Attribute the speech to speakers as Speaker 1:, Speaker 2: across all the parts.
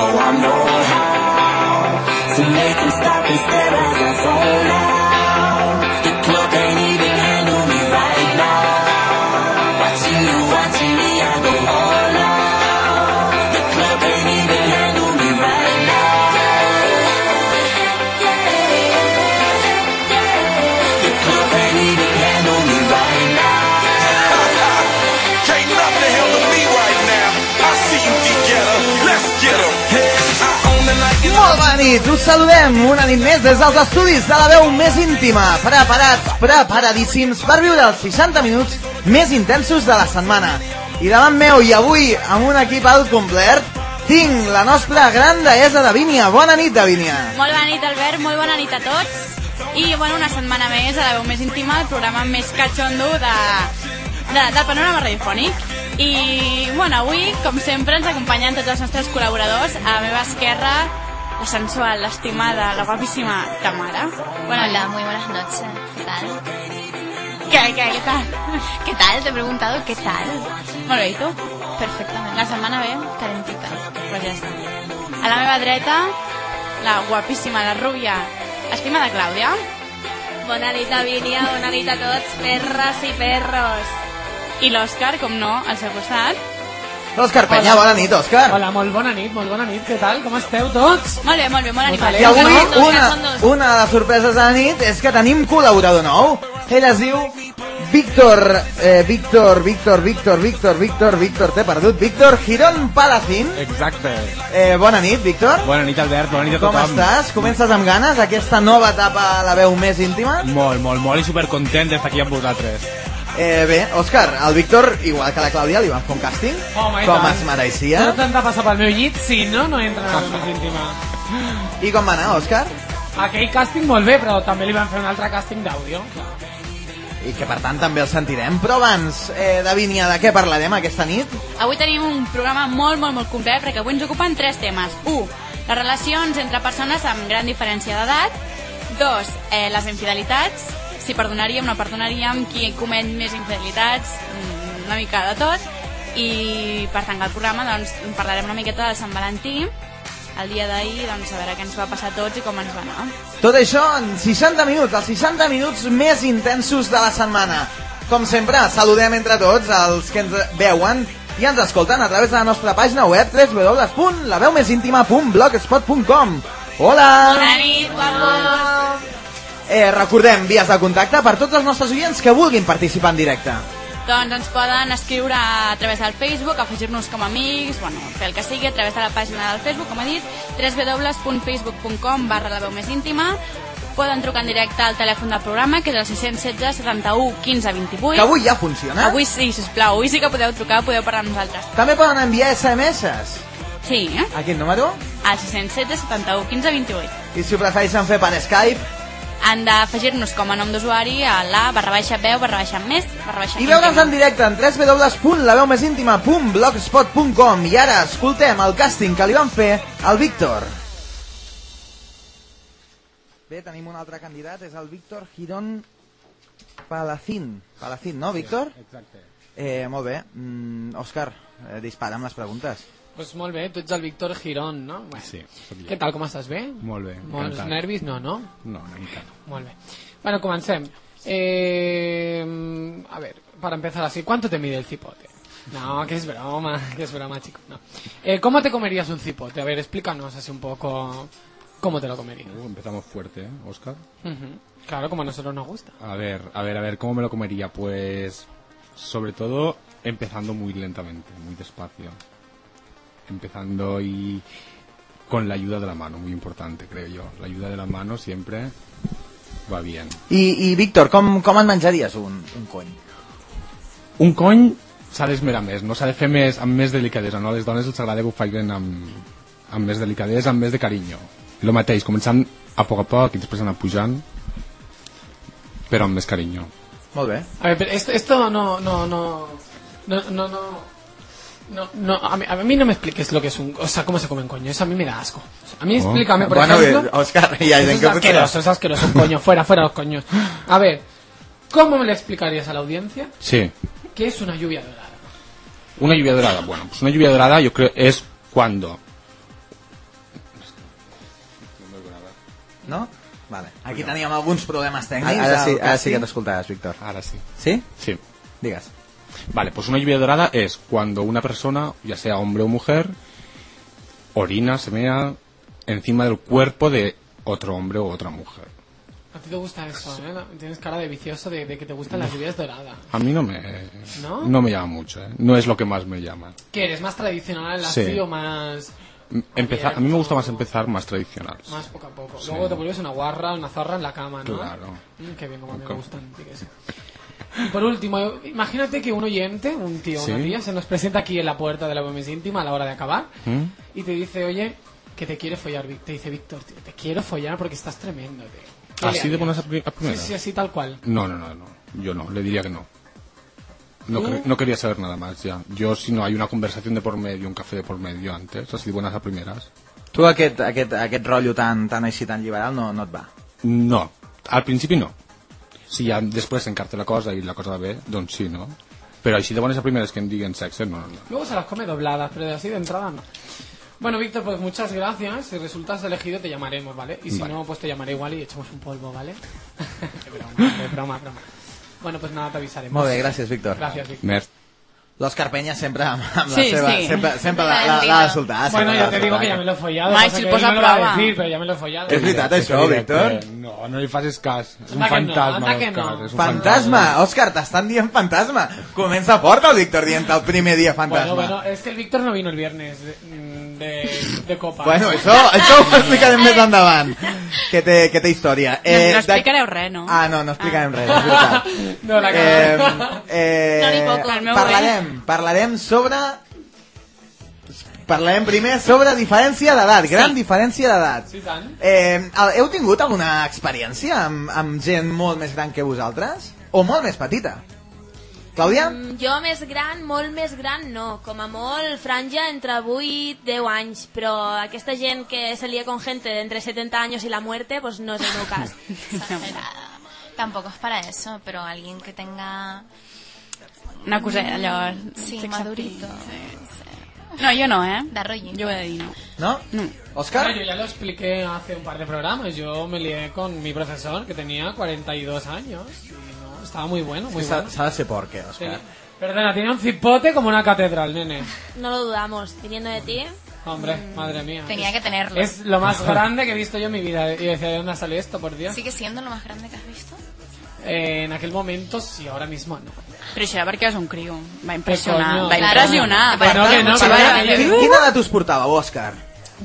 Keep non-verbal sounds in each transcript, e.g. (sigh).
Speaker 1: know how to make them stop instead as I fall out. The clock ain't even handle me right now. Watching you, watching me, I go all out. The clock ain't even handle me right now. The clock ain't even handle me right now.
Speaker 2: Can't nothing handle me right now. I see you together. Let's get 'em. I own the night and
Speaker 3: Molt bona nit, us saludem una nit més des dels estudis de la veu més íntima. Preparats, preparadíssims per viure els 60 minuts més intensos de la setmana. I davant meu i avui amb un equip al complet tinc la nostra gran deessa de Vínia. Bona nit, Davínia.
Speaker 4: Molt bona nit, Albert, molt bona nit a tots. I, bueno, una setmana més a la veu més íntima, el programa més catxondo de, de, del panorama radiofònic. I, bueno, avui, com sempre, ens acompanyen tots els nostres col·laboradors. A la meva esquerra, la sensual, l'estimada, la guapíssima Tamara. Bona
Speaker 5: Hola, muy buenas noches. ¿Qué tal?
Speaker 4: Què, què, què tal?
Speaker 5: ¿Qué tal? Te he preguntado qué tal.
Speaker 4: Molt bé, i tu?
Speaker 5: Perfectamente.
Speaker 4: La setmana bé?
Speaker 5: calentita.
Speaker 4: Pues ja està. A la meva dreta, la guapíssima, la rubia, estimada Clàudia.
Speaker 6: Bona nit, Vínia, bona nit a tots, perres i perros.
Speaker 4: I l'Òscar, com no, al seu costat.
Speaker 3: Òscar Penya, bona nit, Òscar.
Speaker 7: Hola, molt bona nit, molt bona nit, què tal? Com esteu tots?
Speaker 4: Molt bé, molt bé, molt animat.
Speaker 3: I avui una, una de les sorpreses de la nit és que tenim col·laborador nou. Ell es diu Víctor, eh, Víctor, Víctor, Víctor, Víctor, Víctor, Víctor, t'he perdut, Víctor Girón Palacín.
Speaker 8: Exacte.
Speaker 3: Eh, bona nit, Víctor.
Speaker 8: Bona nit, Albert, bona nit a
Speaker 3: Com
Speaker 8: tothom.
Speaker 3: estàs? Comences amb ganes aquesta nova etapa a la veu més íntima?
Speaker 8: Molt, molt, molt i supercontent d'estar aquí amb vosaltres.
Speaker 3: Eh, bé, Òscar, al Víctor, igual que a la Clàudia, li van fer un càsting,
Speaker 7: Home, i
Speaker 3: com
Speaker 7: tant.
Speaker 3: es mereixia.
Speaker 7: No t'han de passar pel meu llit, si no, no entra a la més íntima.
Speaker 3: I com va anar, Òscar?
Speaker 7: Aquell càsting molt bé, però també li van fer un altre càsting d'àudio.
Speaker 3: I que per tant també el sentirem. Però abans, eh, Davínia, de què parlarem aquesta nit?
Speaker 4: Avui tenim un programa molt, molt, molt complet perquè avui ens ocupen tres temes. 1. Les relacions entre persones amb gran diferència d'edat. 2. Eh, les infidelitats. Si perdonaríem, no perdonaríem, qui comet més infidelitats, mm, una mica de tot. I per tancar el programa doncs, parlarem una miqueta de Sant Valentí, el dia d'ahir, doncs, a veure què ens va passar a tots i com ens va anar.
Speaker 3: Tot això en 60 minuts, els 60 minuts més intensos de la setmana. Com sempre, saludem entre tots els que ens veuen i ens escolten a través de la nostra pàgina web www.laveumésíntima.blogspot.com Hola!
Speaker 4: Bona nit, guapos!
Speaker 3: Eh, recordem vies de contacte per tots els nostres oients que vulguin participar en directe.
Speaker 4: Doncs ens poden escriure a través del Facebook, afegir-nos com a amics, bueno, fer el que sigui, a través de la pàgina del Facebook, com he dit, www.facebook.com barra la veu més íntima. Poden trucar en directe al telèfon del programa, que és el 616 71 15 28.
Speaker 3: Que avui eh? ja funciona.
Speaker 4: Avui sí, sisplau, avui sí que podeu trucar, podeu parlar amb nosaltres.
Speaker 3: També poden enviar SMS.
Speaker 4: Sí, eh?
Speaker 3: A quin número?
Speaker 4: Al 616 71 15 28.
Speaker 3: I si ho prefereixen fer per Skype,
Speaker 4: Han d'afegir-nos com a nom d'usuari a la barra baixa veu, barra baixa més, barra baixa
Speaker 3: I veure'ns
Speaker 4: íntima.
Speaker 3: en directe en www.laveumésíntima.blogspot.com I ara escoltem el càsting que li van fer al Víctor. Bé, tenim un altre candidat, és el Víctor Girón Palacín. Palacín, no, Víctor?
Speaker 8: Exacte.
Speaker 3: Eh, molt bé. Mm, Òscar, eh, dispara amb les preguntes.
Speaker 7: Doncs Pues molt bé, tu ets el Víctor Girón, no? Bueno.
Speaker 8: Sí, sóc jo.
Speaker 7: Què tal, com estàs, bé?
Speaker 8: Molt bé,
Speaker 7: Molts
Speaker 8: encantat.
Speaker 7: nervis, no, no?
Speaker 8: No, una mica.
Speaker 7: Molt bé. Bueno, comencem. Eh, a ver, para empezar así, ¿cuánto te mide el cipote? No, que es broma, que es broma, chico. No. Eh, ¿Cómo te comerías un cipote? A ver, explícanos así un poco cómo te lo comerías.
Speaker 8: Uh, empezamos fuerte, ¿eh, Oscar?
Speaker 7: Ujú. Claro, como a nosotros nos gusta.
Speaker 8: A ver, a ver, a ver, ¿cómo me lo comería? Pues, sobre todo, empezando muy lentamente, muy despacio. Empezando y con la ayuda de la mano, muy importante, creo yo. La ayuda de la mano siempre va bien.
Speaker 3: I, i Víctor, com, com et menjaries un, un cony?
Speaker 8: un cony s'ha d'esmerar més, no s'ha de fer més, amb més delicadesa, no? A les dones els agrada que ho facin amb, amb més delicadesa, amb més de carinyo. Lo mateix, començant a poc a poc i després anar pujant, però amb més carinyo.
Speaker 3: Molt bé.
Speaker 7: A ver, pero esto, esto no, no, no, no, no, no. No, no, a mí, a mí no me expliques lo que es un... O sea, cómo se come un coño. Eso a mí me da asco. O sea, a mí
Speaker 8: Oh.
Speaker 7: explícame, por
Speaker 3: bueno,
Speaker 7: ejemplo...
Speaker 3: bé, Òscar, ja hi
Speaker 7: Eso
Speaker 3: ha
Speaker 7: es
Speaker 3: gent que...
Speaker 7: asqueroso, es asqueroso, coño, fuera, fuera los coños. A ver, ¿cómo me le explicarías a la audiencia
Speaker 8: Sí.
Speaker 7: qué es una lluvia dorada?
Speaker 8: Una lluvia dorada, bueno, pues una lluvia dorada yo creo es cuando
Speaker 3: no? Vale. Aquí teníem alguns problemes tècnics.
Speaker 9: Ara sí,
Speaker 3: del
Speaker 9: ara sí que
Speaker 3: càsting.
Speaker 9: t'escoltaràs, Víctor.
Speaker 8: Ahora sí.
Speaker 9: ¿Sí?
Speaker 8: Sí.
Speaker 9: Digas.
Speaker 8: Vale, pues una lluvia dorada es cuando una persona, ya sea hombre o mujer, orina, se mea encima del cuerpo de otro hombre o otra mujer.
Speaker 7: A ti te gusta eso, ¿eh? Tienes cara de vicioso de, de que te gustan las lluvias doradas.
Speaker 8: A mí no me,
Speaker 7: ¿No?
Speaker 8: me llama mucho, ¿eh? no es lo que más me llama.
Speaker 7: ¿Qué eres? ¿Más tradicional así
Speaker 8: Sí.
Speaker 7: o más,
Speaker 8: M- empezar- a mí me gusta más empezar más tradicional.
Speaker 7: más poco a poco?
Speaker 8: Sí.
Speaker 7: Luego te vuelves una guarra, una zorra en la cama, ¿no?
Speaker 8: Claro.
Speaker 7: Mm, qué bien, como a mí me
Speaker 8: Como-
Speaker 7: gustan. sí
Speaker 8: (laughs)
Speaker 7: que sí. Y por último, imagínate que un oyente, un tío o una
Speaker 8: Sí.
Speaker 7: tía, se nos presenta aquí en la puerta de la BMS íntima a la hora de acabar
Speaker 8: ¿Mm?
Speaker 7: y te dice, oye, que te quiere follar. Vic- Te dice, Víctor, tío, te quiero follar porque estás tremendo, tío. ¿Qué le
Speaker 8: ¿Así de
Speaker 7: harías?
Speaker 8: buenas a, pri- a
Speaker 7: Sí,
Speaker 8: primeras?
Speaker 7: sí, así tal cual.
Speaker 8: No, no, no, no. Yo no, le diría que no. No, cre- no quería saber nada más ya. Yo si no hay una conversación de por medio, un café de por medio antes, así de buenas a primeras.
Speaker 3: Tu aquest, aquest, aquest rotllo tan, tan així, tan liberal, no, no et va.
Speaker 8: No, al principi no. Si ja després s'encarta la cosa i la cosa va bé, doncs sí, no? Però així de bones a primeres que em diguen sexe, no, no, no.
Speaker 7: Luego se las come dobladas, pero de así de entrada no. Bueno, Víctor, pues muchas gracias. Si resultas elegido, te llamaremos, ¿vale? Y si
Speaker 8: Vale.
Speaker 7: no, pues te llamaré igual y echamos un polvo,
Speaker 3: (laughs)
Speaker 7: ¿vale? Qué broma, qué broma, broma. Bueno, pues nada, te avisaremos.
Speaker 9: Molt bé, gràcies, Víctor.
Speaker 7: Gracias, Víctor.
Speaker 8: Mer,
Speaker 3: L'Òscar Penya sempre amb, amb
Speaker 4: Sí,
Speaker 3: la seva...
Speaker 4: sí.
Speaker 3: Sempre, sempre la- la-
Speaker 5: Valentino.
Speaker 3: l'ha de soltar. sempre
Speaker 7: Bueno,
Speaker 3: l'ha
Speaker 7: ya
Speaker 3: de
Speaker 7: te digo
Speaker 3: soltar.
Speaker 7: que ya me lo he follado.
Speaker 4: Mai,
Speaker 7: o sea
Speaker 4: si
Speaker 7: que
Speaker 4: posa
Speaker 7: él me lo va a
Speaker 4: prueba.
Speaker 7: decir, pero ya me lo he follado.
Speaker 3: És veritat, això, Víctor?
Speaker 8: eh, No, no li facis cas. És un
Speaker 7: Anda que no,
Speaker 8: fantasma,
Speaker 7: anda que no.
Speaker 8: Òscar, és un
Speaker 3: Fantasma, Òscar, t'estan dient fantasma. Comença fort el Víctor dient el primer dia fantasma.
Speaker 7: Bueno, bueno, es que el Víctor no vino el viernes de, mm, de- de copa.
Speaker 3: Bueno, això, això ho explicarem més endavant, que té, que té història.
Speaker 4: Eh, no
Speaker 3: de-
Speaker 4: explicareu res, no?
Speaker 3: Ah, no, no explicarem res, és veritat.
Speaker 7: (laughs) No, la (laughs)
Speaker 3: Eh,
Speaker 7: cara.
Speaker 4: No n'hi
Speaker 3: eh,
Speaker 4: poco. El meu
Speaker 3: parlarem, parlarem sobre... Parlarem primer sobre diferència d'edat, gran diferència d'edat.
Speaker 7: Sí, tant.
Speaker 3: Eh, el- heu tingut alguna experiència amb, amb gent molt més gran que vosaltres? O molt més petita? Clàudia?
Speaker 6: Mm, Jo més gran, molt més gran no, com a molt franja entre 8 10 anys, però aquesta gent que se lia con gente de entre 70 anys i la muerte, pues no és el
Speaker 3: (laughs)
Speaker 6: meu cas.
Speaker 5: Exagerada. Tampoco es para eso, pero alguien que tenga...
Speaker 4: Una coseta, allò...
Speaker 5: Sí,
Speaker 4: sex
Speaker 5: madurito.
Speaker 4: appeal. No, jo no, eh?
Speaker 5: Da rollito.
Speaker 4: Jo ho he de dir, no.
Speaker 3: No?
Speaker 4: No.
Speaker 3: Òscar?
Speaker 7: Bueno, yo ya lo expliqué hace un par de programas. Yo me lié con mi profesor que tenía 42 años. Y no, estaba muy bueno, muy
Speaker 3: S'ha
Speaker 7: bueno.
Speaker 3: s'ha de ser porque, Òscar.
Speaker 7: Tenía- Perdona, tenía un cipote como una catedral, nene.
Speaker 6: No lo dudamos, viniendo de ti.
Speaker 7: Hombre, madre mía.
Speaker 5: Mm. Tenía que tenerlo.
Speaker 7: Es lo más grande que he visto yo en mi vida. Y decía, ¿de dónde ha salido esto, por Dios?
Speaker 5: ¿Sigue siendo lo más grande que has visto?
Speaker 7: Eh, en aquel momento sí, ahora mismo no.
Speaker 4: Però això era perquè és un crio. Va impressionar.
Speaker 7: coño.
Speaker 4: Va impressionar.
Speaker 7: Claro.
Speaker 4: va
Speaker 7: Ah, Que no, que no,
Speaker 4: impressionar.
Speaker 7: que no,
Speaker 4: Va
Speaker 7: que no.
Speaker 4: impressionar.
Speaker 3: Quina edat us portava, Òscar?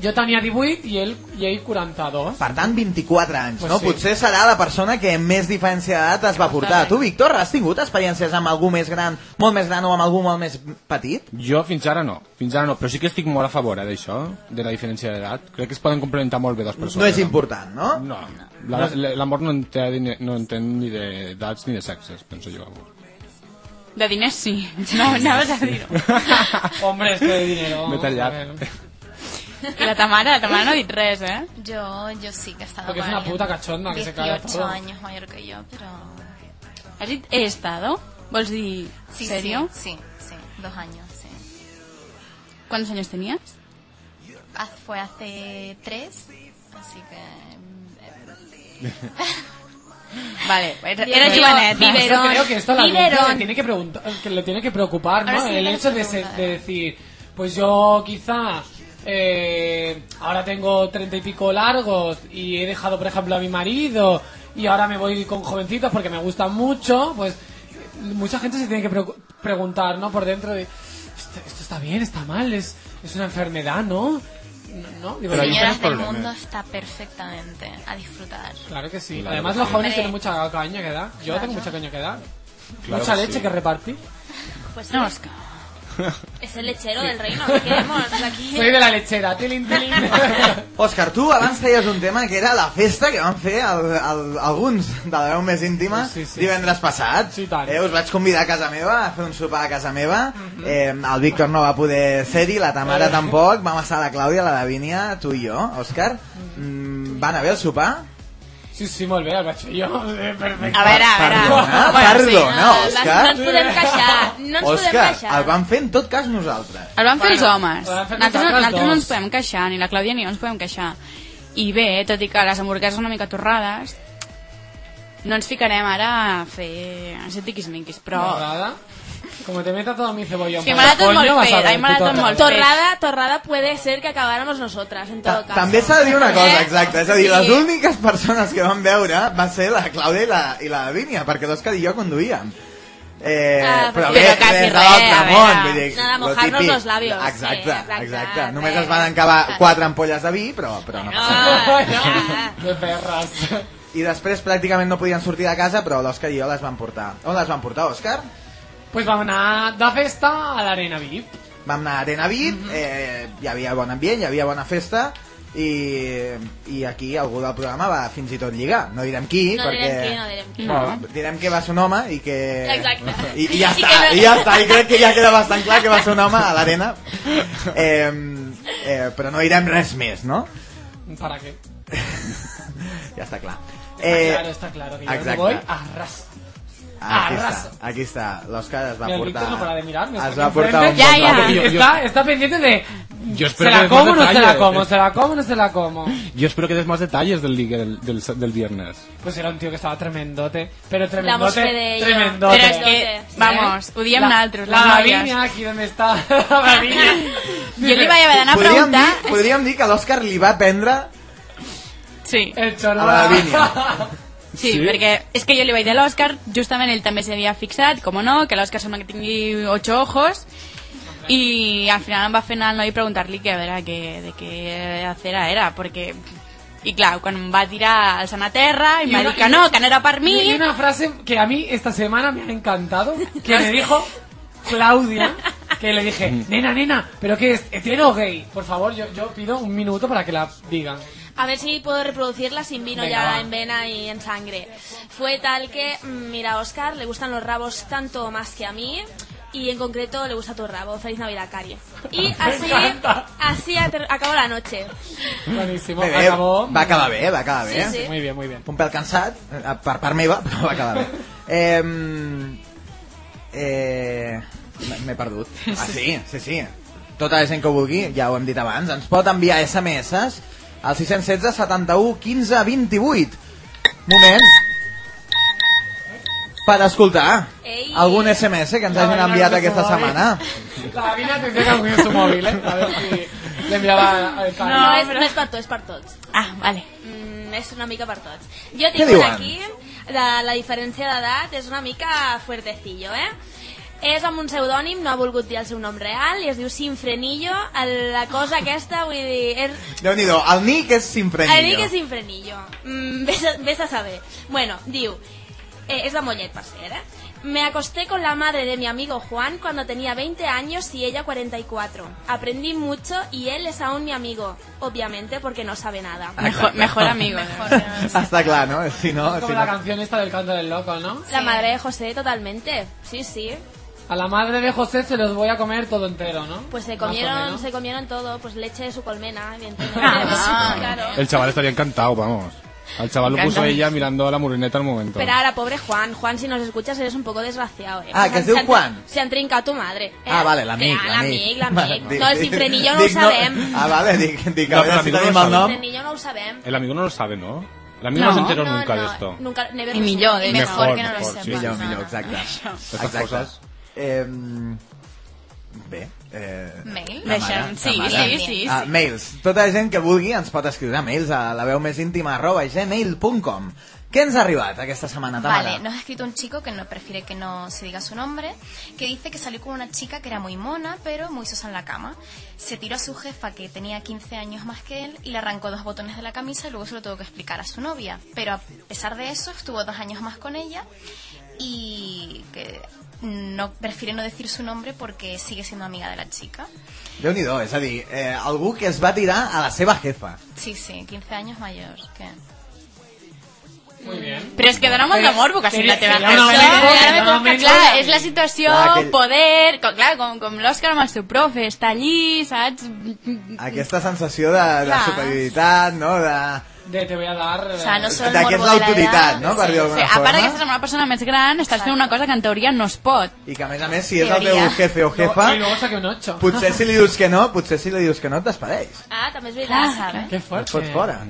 Speaker 7: Yo tenía 18 y él, y él
Speaker 3: (laughs)
Speaker 7: 42.
Speaker 3: Per tant, 24 anys,
Speaker 7: Pues
Speaker 3: no?
Speaker 7: sí.
Speaker 3: Potser serà la persona que més diferència d'edat es va portar. Tu, Víctor, has tingut experiències amb algú més gran, molt més gran o amb algú molt més petit?
Speaker 8: Jo fins ara no, fins ara no, però sí que estic molt a favor eh, d'això, de la diferència d'edat. Crec que es poden complementar molt bé dos persones.
Speaker 3: No és important, no?
Speaker 8: No, La- la- l'amor no, entén ni- no entén ni d'edats ni de sexes, penso jo.
Speaker 4: De diners sí. No, anaves a dir-ho.
Speaker 7: (laughs) Hombre, esto de dinero.
Speaker 8: M'he
Speaker 7: a
Speaker 8: tallat. (laughs)
Speaker 7: ver.
Speaker 4: I La Tamara, la Tamara no ha dit res, eh?
Speaker 5: Yo, yo sí que he estado
Speaker 7: Porque es
Speaker 5: con
Speaker 7: una
Speaker 5: alguien
Speaker 7: puta cachonda que se caga
Speaker 5: 18
Speaker 7: todo.
Speaker 5: años mayor que yo, pero...
Speaker 4: Has dit he estado? Vols dir...
Speaker 5: Sí,
Speaker 4: serio?
Speaker 5: sí, sí, sí, dos años, sí.
Speaker 4: ¿Cuántos años tenías?
Speaker 5: Haz- Fue hace tres, así que... mm,
Speaker 4: Vale, era,
Speaker 5: Bien,
Speaker 4: era
Speaker 5: yo-
Speaker 4: jovenet.
Speaker 5: vive-
Speaker 4: eh?
Speaker 7: Yo creo que esto a la gente
Speaker 5: Biberón.
Speaker 7: le tiene que, preguntar, que le tiene que preocupar,
Speaker 5: Ahora
Speaker 7: ¿no?
Speaker 5: sí,
Speaker 7: el
Speaker 5: ya les
Speaker 7: hecho de, se-
Speaker 5: preguntaré.
Speaker 7: de decir, pues yo quizá eh, ahora tengo treinta y pico largos y he dejado, por ejemplo, a mi marido y ahora me voy con jovencitos porque me gustan mucho, pues mucha gente se tiene que preocu- preguntar, ¿no? Por dentro de, "Esto- esto está bien, está mal, es, es una enfermedad, ¿no? ¿No? Digo,
Speaker 8: Pero hay
Speaker 5: Señoras del
Speaker 8: problemas.
Speaker 5: mundo está perfectamente a
Speaker 8: (laughs)
Speaker 5: disfrutar.
Speaker 7: Claro que sí.
Speaker 8: Claro
Speaker 7: Además,
Speaker 8: que
Speaker 7: los
Speaker 8: sí.
Speaker 7: jóvenes
Speaker 5: Hombre.
Speaker 7: tienen mucha caña que dar. Yo tengo mucha caña que dar.
Speaker 8: Claro
Speaker 7: mucha
Speaker 8: que
Speaker 7: leche
Speaker 8: sí.
Speaker 7: que repartir.
Speaker 6: Pues
Speaker 4: No, és que...
Speaker 6: es el lechero del reino, que queremos aquí.
Speaker 7: Soy de la lechera. Tilín, tilín.
Speaker 3: Òscar, tu abans feies un tema que era la festa que van fer el, el, alguns de la veu més íntima
Speaker 7: Sí, sí, sí.
Speaker 3: divendres passat.
Speaker 7: Sí, tant.
Speaker 3: Eh, us vaig convidar a casa meva a fer un sopar a casa meva. eh, el Víctor no va poder ser-hi, la Tamara tampoc, vam estar la Clàudia, la Davínia, tu i jo, Òscar. Mm, van a bé el sopar?
Speaker 7: Sí, sí, molt bé, el vaig fer jo. (laughs) Eh, Perfecte.
Speaker 4: A veure, a veure...
Speaker 3: Perdona, perdona,
Speaker 6: Ah, vas,
Speaker 3: Òscar.
Speaker 6: no ens podem queixar, no ens podem
Speaker 3: Òscar,
Speaker 6: queixar.
Speaker 3: el vam fer en tot cas nosaltres.
Speaker 4: El van fer els homes.
Speaker 7: el van fer
Speaker 4: Nosaltres,
Speaker 7: nosaltres
Speaker 4: nosaltres no ens
Speaker 7: dos.
Speaker 4: podem queixar, ni la Clàudia ni jo ens podem queixar. I bé, tot i que les hamburgueses són una mica torrades, no ens ficarem ara a fer... a ser tiquismiquis, però...
Speaker 7: Torrada. Como te meta todo mi cebollón.
Speaker 4: Sí,
Speaker 7: por
Speaker 4: m'ha
Speaker 7: el
Speaker 4: anat tot
Speaker 7: coño,
Speaker 4: molt
Speaker 7: vas a
Speaker 4: fet,
Speaker 7: ver
Speaker 4: ai,
Speaker 7: tu
Speaker 4: m'ha anat tot
Speaker 7: torrada.
Speaker 4: molt
Speaker 6: Torrada, torrada puede ser que acabáramos nosotras, en
Speaker 3: Ta
Speaker 6: todo caso.
Speaker 3: També s'ha de dir una cosa,
Speaker 4: Eh?
Speaker 3: exacte. És a dir, les
Speaker 4: Sí.
Speaker 3: úniques persones que van veure va ser la Clàudia i la, i la Vínia, perquè l'Òscar i jo conduíem. Eh,
Speaker 6: Ah,
Speaker 3: però
Speaker 4: però
Speaker 3: bé,
Speaker 4: quasi
Speaker 3: res,
Speaker 4: res, a
Speaker 3: res, Ramon,
Speaker 4: veure.
Speaker 3: vull dir,
Speaker 6: Nada,
Speaker 3: lo
Speaker 6: mojarnos
Speaker 3: típic.
Speaker 6: los labios.
Speaker 3: Exacte,
Speaker 6: Sí, exacte,
Speaker 3: exacte.
Speaker 6: sí.
Speaker 3: Només es van acabar quatre ampolles de vi, però, però no passa res.
Speaker 7: Ah, (laughs) De perras.
Speaker 3: I després pràcticament no podien sortir de casa, però l'Òscar i jo les van portar. On les van portar, Òscar?
Speaker 7: Pues vamos a dar festa a la arena VIP.
Speaker 3: Vam anar a Arena Beat,
Speaker 6: Mhm.
Speaker 3: eh, hi havia bon ambient, hi havia bona festa, i, i aquí algú del programa va fins i tot lligar. No direm qui,
Speaker 6: No
Speaker 3: perquè...
Speaker 6: direm qui, no direm qui.
Speaker 3: No, direm que va ser un home i que...
Speaker 6: Exacte.
Speaker 3: I, i ja
Speaker 6: I
Speaker 3: està,
Speaker 6: que no-
Speaker 3: i ja està. I crec que ja queda bastant clar que va ser un home a
Speaker 6: (laughs)
Speaker 3: l'arena. Eh, eh, però no direm res més, no?
Speaker 7: ¿Para qué?
Speaker 3: Ja està clar. Eh,
Speaker 7: está
Speaker 8: Eh,
Speaker 7: Ah, claro, está claro. Que yo me
Speaker 3: exacte.
Speaker 7: voy a ras.
Speaker 3: Aquí
Speaker 7: arrasa.
Speaker 3: està, aquí està. L'Òscar es va
Speaker 7: Mira, el
Speaker 3: portar...
Speaker 7: Víctor no para de mirarme.
Speaker 3: es
Speaker 7: está
Speaker 3: va
Speaker 7: aquí
Speaker 3: portar un
Speaker 7: enfrente.
Speaker 4: Ja,
Speaker 3: bon
Speaker 4: ja.
Speaker 8: Yo- yo-
Speaker 7: Está, está pendiente de.
Speaker 8: Yo
Speaker 7: ¿Se
Speaker 8: espero que
Speaker 7: la
Speaker 8: des más
Speaker 7: como o no se la
Speaker 8: detalles.
Speaker 7: como? ¿Se la como o no se la como?
Speaker 8: Yo espero que des más detalles del ligue del, del, del viernes.
Speaker 7: Pues era un tío que estaba tremendote. Pero
Speaker 6: Hablamos fe de
Speaker 7: tremendote.
Speaker 6: ello.
Speaker 7: Tremendote.
Speaker 4: Però és que,
Speaker 6: Sí.
Speaker 4: vamos, ho diem
Speaker 7: La-
Speaker 4: naltros,
Speaker 7: La
Speaker 4: les noies.
Speaker 7: Lavinia, aquí donde está. (laughs) La Lavinia.
Speaker 4: Jo li vaig haver d'anar a
Speaker 3: Podríem
Speaker 4: preguntar...
Speaker 3: dir, podríem dir que l'Òscar li va prendre...
Speaker 4: Sí.
Speaker 7: El chorro.
Speaker 3: A la Lavinia.
Speaker 4: Sí, perquè és que jo li vaig dir a l'Òscar, justament ell també s'havia fixat, com no, que l'Òscar sembla que tingui ocho ojos, i al final em va fer anar al noi i preguntar-li que a veure que, de què acera era, perquè... I clar, quan em va tirar el sant a terra i, em
Speaker 7: I
Speaker 4: va
Speaker 7: una-
Speaker 4: dir que no, que no era per mi...
Speaker 7: (laughs) Y una frase que a mí esta semana me ha encantado, que me dijo Claudia, que le dije, nena, nena, ¿pero qué es? ¿Hetero o gay? Por favor, yo, yo pido un minuto para que la digan.
Speaker 6: A ver si puedo reproducirla sin vino
Speaker 7: Venga,
Speaker 6: ya
Speaker 7: va.
Speaker 6: en vena y en sangre. Fue tal que, mm, mira, a Oscar le gustan los rabos tanto o más que a mí. Y en concreto le gusta tu rabo. Feliz Navidad, Cari.
Speaker 7: (laughs)
Speaker 6: Y así,
Speaker 7: encanta.
Speaker 6: así ater- acabó la noche.
Speaker 7: Buenísimo,
Speaker 3: Bé, bé,
Speaker 7: acabó.
Speaker 3: va acabar bé, va acabar bé.
Speaker 6: Sí, sí.
Speaker 7: Muy bien, muy bien.
Speaker 3: un pèl cansat, eh, per part meva, (laughs) però va quedar bé. Eh, eh, m'he- M'he perdut. Ah, sí, sí, sí. Tota la gent que ho vulgui, ja ho hem dit abans, ens pot enviar SMS al 616 71 15 28. Moment. Per escoltar
Speaker 6: Ei.
Speaker 3: algun SMS que ens hagin enviat aquesta
Speaker 6: eh?
Speaker 3: setmana.
Speaker 7: La Davina tendría que abrir su móvil, ¿eh? A ver si le enviaba el
Speaker 6: No,
Speaker 7: canal.
Speaker 6: és, no és per tots, és per tots.
Speaker 4: Ah, vale.
Speaker 6: Mm, és una mica per tots. Jo
Speaker 3: Què
Speaker 6: tinc
Speaker 3: diuen?
Speaker 6: un aquí, de la diferència d'edat és una mica fuertecillo, eh? És amb un pseudònim, no ha volgut dir el seu nom real, i es diu Sinfrenillo. El- La cosa aquesta, vull dir... És,
Speaker 3: Déu-n'hi-do, el Nick és sin frenillo.
Speaker 6: el Nick és Sinfrenillo. Mm, ves, a, ves a saber. Bueno, diu... Eh, és de Mollet, per ser, eh? Me acosté con la madre de mi amigo Juan cuando tenía 20 años y ella 44. Aprendí mucho y él es aún mi amigo, obviamente porque no sabe nada.
Speaker 4: Ah,
Speaker 7: (laughs)
Speaker 4: Mejor, mejor amigo.
Speaker 3: Està clar, no? Si no,
Speaker 7: Como
Speaker 3: si
Speaker 7: la
Speaker 3: no
Speaker 7: canción esta del canto del loco, ¿no?
Speaker 6: La madre de José, totalmente. Sí, sí.
Speaker 7: A la madre de José se los voy a comer todo entero, ¿no?
Speaker 6: Pues se
Speaker 7: Más o
Speaker 6: comieron,
Speaker 7: menos.
Speaker 6: se comieron todo, pues leche de su colmena, evidentemente.
Speaker 4: Ah.
Speaker 6: (laughs) claro.
Speaker 8: El chaval estaría encantado, vamos. Al chaval lo
Speaker 4: Me
Speaker 8: puso
Speaker 4: encanta.
Speaker 8: ella mirando a la moreneta al momento.
Speaker 6: Pero ahora, pobre Juan, Juan, si nos escuchas eres un poco desgraciado, eh.
Speaker 3: Ah,
Speaker 6: Pues
Speaker 3: que es
Speaker 6: han-
Speaker 3: de un
Speaker 6: se han-
Speaker 3: Juan.
Speaker 6: Se han trincado tu madre. eh.
Speaker 3: Ah, vale, l'amic,
Speaker 6: Que, ah,
Speaker 3: l'amic.
Speaker 6: l'amic,
Speaker 3: Dic-
Speaker 6: l'amic. No, el
Speaker 3: dic-
Speaker 6: sinfrenillo no ho
Speaker 3: dic
Speaker 6: sabem.
Speaker 3: Ah, vale, dic, dic a
Speaker 8: No,
Speaker 3: veure
Speaker 8: però
Speaker 3: si
Speaker 8: l'amic
Speaker 3: tenim
Speaker 8: no ho
Speaker 3: el
Speaker 8: sabem.
Speaker 3: nom.
Speaker 6: Sinfrenillo no ho sabem.
Speaker 8: El amigo no lo sabe, ¿no? El amigo
Speaker 4: No.
Speaker 8: no, se enteró
Speaker 6: No,
Speaker 8: nunca
Speaker 6: no,
Speaker 8: de esto.
Speaker 6: Nunca, never
Speaker 4: I
Speaker 6: lo
Speaker 4: millor,
Speaker 6: sabré.
Speaker 4: i
Speaker 8: Mejor,
Speaker 4: mejor, que no
Speaker 8: mejor,
Speaker 4: lo
Speaker 8: sí.
Speaker 4: sepas.
Speaker 8: Millor,
Speaker 4: No, no,
Speaker 3: millor,
Speaker 4: no.
Speaker 3: exacte.
Speaker 4: Això.
Speaker 8: Estas cosas.
Speaker 3: Eh, bé. Eh,
Speaker 5: Mail.
Speaker 3: la
Speaker 4: Deixem-
Speaker 3: mare,
Speaker 4: sí,
Speaker 3: la mare.
Speaker 4: sí, sí,
Speaker 3: Ah,
Speaker 4: sí.
Speaker 3: mails. Tota la gent que vulgui ens pot escriure mails a la veu més íntima arroba gmail.com. Què ens ha arribat aquesta setmana, Tamara?
Speaker 5: Vale, nos ha escrito un chico que no prefiere que no se diga su nombre, que dice que salió con una chica que era muy mona, pero muy sosa en la cama. Se tiró a su jefa, que tenía 15 años más que él, y le arrancó dos botones de la camisa y luego se lo tuvo que explicar a su novia. Pero a pesar de eso, estuvo dos años más con ella y que no prefiere no decir su nombre porque sigue siendo amiga de la chica.
Speaker 3: Déu-n'hi-do, és a dir, eh, algú que es va tirar a la seva jefa.
Speaker 5: Sí, sí, 15 años mayor que...
Speaker 7: Muy bien.
Speaker 4: Però és que dona molt de morbo que sigui la teva
Speaker 7: Seria una
Speaker 4: persona.
Speaker 7: bona idea,
Speaker 4: Ara me
Speaker 7: no?
Speaker 4: toca,
Speaker 7: Menys
Speaker 4: clar, és la situació,
Speaker 3: Clar, aquell-
Speaker 4: poder... Com, clar, com, com l'Òscar amb el seu profe, està allí, saps?
Speaker 3: Aquesta sensació de, de
Speaker 4: Clar.
Speaker 3: superioritat, no? De,
Speaker 7: de te voy a dar... eh,
Speaker 5: O sea, no solo el
Speaker 3: De que és
Speaker 5: morbo de la
Speaker 3: l'autoritat,
Speaker 5: edad,
Speaker 3: no? Per
Speaker 5: sí. Ah,
Speaker 3: dir-ho
Speaker 4: Sí,
Speaker 3: d'alguna
Speaker 4: a part de que
Speaker 3: forma.
Speaker 4: estàs amb una persona més gran, estàs fent una cosa que en teoria no es pot.
Speaker 3: I que a més a més, si és el teu
Speaker 4: Teoria.
Speaker 3: jefe o jefa, pues
Speaker 7: No, y luego saqué un 8.
Speaker 3: potser si li dius que no, potser si li dius que no et despedeix.
Speaker 6: Ah, també és veritat.
Speaker 7: (laughs) Qué
Speaker 3: Et
Speaker 7: fuerte.
Speaker 3: fots fora.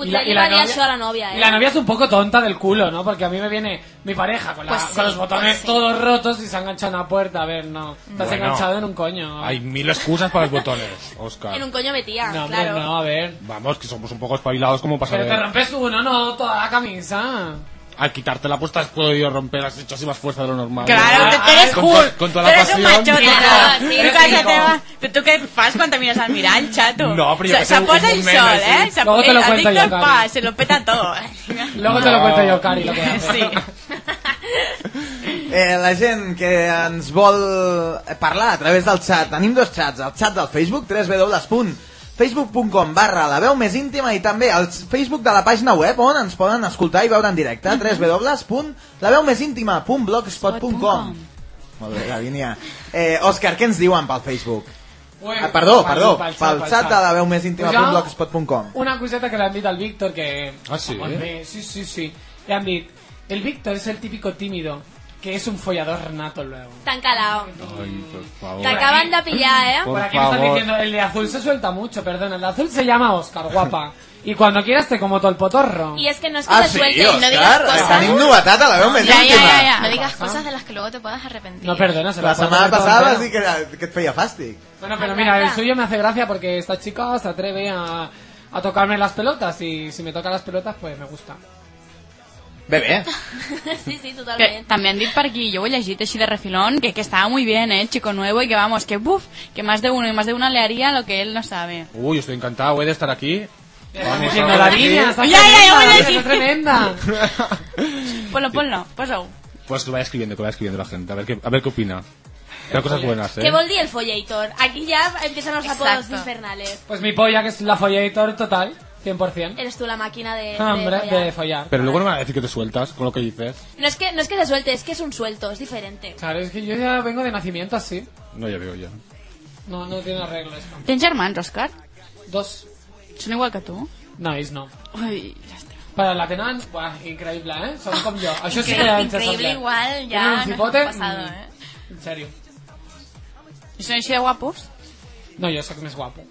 Speaker 6: Potser li va dir això a la nòvia, eh?
Speaker 7: y la novia es un poco tonta del culo, ¿no? Porque a mí me viene mi pareja con, la-
Speaker 5: Pues sí,
Speaker 7: con los botones
Speaker 5: pues sí.
Speaker 7: todos rotos y se ha enganchado en la puerta. A ver, no. Estás
Speaker 8: Bueno.
Speaker 7: enganchado en un coño.
Speaker 8: Hay mil excusas
Speaker 7: (laughs)
Speaker 8: para los botones, Oscar.
Speaker 6: En un coño metía,
Speaker 7: no, hombre,
Speaker 6: claro.
Speaker 7: no, a ver.
Speaker 8: Vamos, que somos un poco espabilados como para
Speaker 7: Pero te
Speaker 8: saber.
Speaker 7: rompes uno, no, toda la camisa.
Speaker 8: Al quitártela pues te has podido romper, has hecho así más fuerza de lo normal.
Speaker 7: Claro,
Speaker 8: Ah,
Speaker 7: tú eres
Speaker 8: con, to- con toda la pasión.
Speaker 5: Claro, sí,
Speaker 7: Però
Speaker 4: casa
Speaker 7: sí, com-
Speaker 4: teva. Però tu què fas quan te mires al mirall, xato?
Speaker 8: No, però jo
Speaker 4: Se,
Speaker 8: que sé,
Speaker 4: se
Speaker 8: un
Speaker 4: posa el
Speaker 8: moment
Speaker 4: sol,
Speaker 8: així.
Speaker 4: eh? Se,
Speaker 7: Luego te lo
Speaker 4: el
Speaker 7: cuento
Speaker 4: adicto
Speaker 7: yo,
Speaker 4: al
Speaker 7: Cari.
Speaker 4: pa, se lo peta
Speaker 7: (laughs)
Speaker 4: todo.
Speaker 7: Luego te lo
Speaker 8: No.
Speaker 7: cuento yo, Cari, lo que hace.
Speaker 4: Sí.
Speaker 3: Eh, la gent que ens vol parlar a través del xat, tenim dos xats, el xat del Facebook, www.facebook.com barra la veu més íntima i també el Facebook de la pàgina web on ens poden escoltar i veure en directe, www.laveumésíntima.blogspot.com Molt bé, Lavínia. Eh, Òscar, què ens diuen pel Facebook?
Speaker 7: Ué,
Speaker 3: Ah, perdó,
Speaker 7: pel-
Speaker 3: perdó,
Speaker 7: pel-
Speaker 3: pel
Speaker 7: pel-
Speaker 3: xat de la veu més
Speaker 7: Pues jo-
Speaker 3: íntima.blogspot.com
Speaker 7: Una coseta que le han dicho al Víctor que...
Speaker 8: Ah, sí?
Speaker 7: Hombre, sí, sí, sí. Le han dicho, el Víctor es el típico tímido, que es un follador nato luego.
Speaker 6: Tan calao.
Speaker 8: Ay, por favor.
Speaker 6: Te acaban de pillar, eh?
Speaker 8: Por
Speaker 7: Por aquí me están
Speaker 8: favor.
Speaker 7: diciendo, el de azul se suelta mucho, perdona. El de azul se llama Oscar, guapa. Y cuando quieras te como todo el potorro.
Speaker 6: Y es que no es que
Speaker 3: Ah,
Speaker 6: te
Speaker 3: sí,
Speaker 6: suelte, no digas
Speaker 3: Òscar,
Speaker 6: cosas.
Speaker 3: tenim novetat a la veu més
Speaker 4: Ja, ja,
Speaker 3: íntima.
Speaker 4: ja, ja.
Speaker 5: No digas
Speaker 7: Pasa.
Speaker 5: cosas de las que luego te puedas arrepentir.
Speaker 7: No, perdona, se lo
Speaker 3: La
Speaker 7: puedo
Speaker 3: setmana
Speaker 7: comer todo
Speaker 3: passada vas
Speaker 7: entero.
Speaker 3: dir que, era- que et feia fàstic.
Speaker 7: Bueno, pero mira, el suyo me hace gracia porque esta chica se atreve a, a tocarme las pelotas y si me toca las pelotas, pues me gusta.
Speaker 3: Bé, bé.
Speaker 6: (laughs) Sí, sí,
Speaker 4: Que
Speaker 6: totalment.
Speaker 4: també han dit per aquí, jo ho he llegit així de refilón, que, que estava muy bien, eh, el chico nuevo, y que vamos, que buf, que más de uno y más de una le haría lo que él no sabe.
Speaker 8: Uy, estoy encantado eh, de estar aquí.
Speaker 7: Están
Speaker 8: Vamos,
Speaker 7: diciendo,
Speaker 8: vamos,
Speaker 7: la
Speaker 8: sí.
Speaker 7: niña, está
Speaker 4: Ya, ya, ya, voy a
Speaker 7: tremenda,
Speaker 4: decir.
Speaker 7: está tremenda. Mm.
Speaker 4: Ponlo, ponlo, posa-ho.
Speaker 8: (laughs) Pues que vaya escribiendo, que vaya escribiendo la gente, a ver qué, a ver qué opina. Pero cosas buenas,
Speaker 6: ¿Qué
Speaker 8: ¿eh?
Speaker 6: vol dir el follator? Aquí ya empiezan los apodos
Speaker 5: Exacto.
Speaker 6: infernales.
Speaker 7: Pues mi polla, que es la follator total, 100%.
Speaker 6: Eres tú la máquina de, de
Speaker 7: Ah, Hombre,
Speaker 6: follar.
Speaker 7: de follar.
Speaker 8: Pero luego no me van a decir que te sueltas con lo que dices.
Speaker 6: No es que no es que se suelte, es que es un suelto, es diferente.
Speaker 7: Claro, es que yo ya vengo de nacimiento así.
Speaker 8: No, ya veo ya.
Speaker 7: No, no tiene arreglo esto.
Speaker 4: Tens germans, Òscar?
Speaker 7: Dos.
Speaker 4: Són igual que tu?
Speaker 7: Nice, no.
Speaker 4: Ui, ja està.
Speaker 7: Para la tenant, buah, increíble, ¿eh? Son como yo. Això sí que
Speaker 5: Increíble,
Speaker 7: ens sembla.
Speaker 5: igual,
Speaker 7: Tienen
Speaker 5: ya
Speaker 7: un
Speaker 5: no
Speaker 7: cipote,
Speaker 5: pasado,
Speaker 7: mm,
Speaker 5: ¿eh?
Speaker 7: En serio.
Speaker 4: I són així de guapos?
Speaker 7: No, jo sóc més guapo.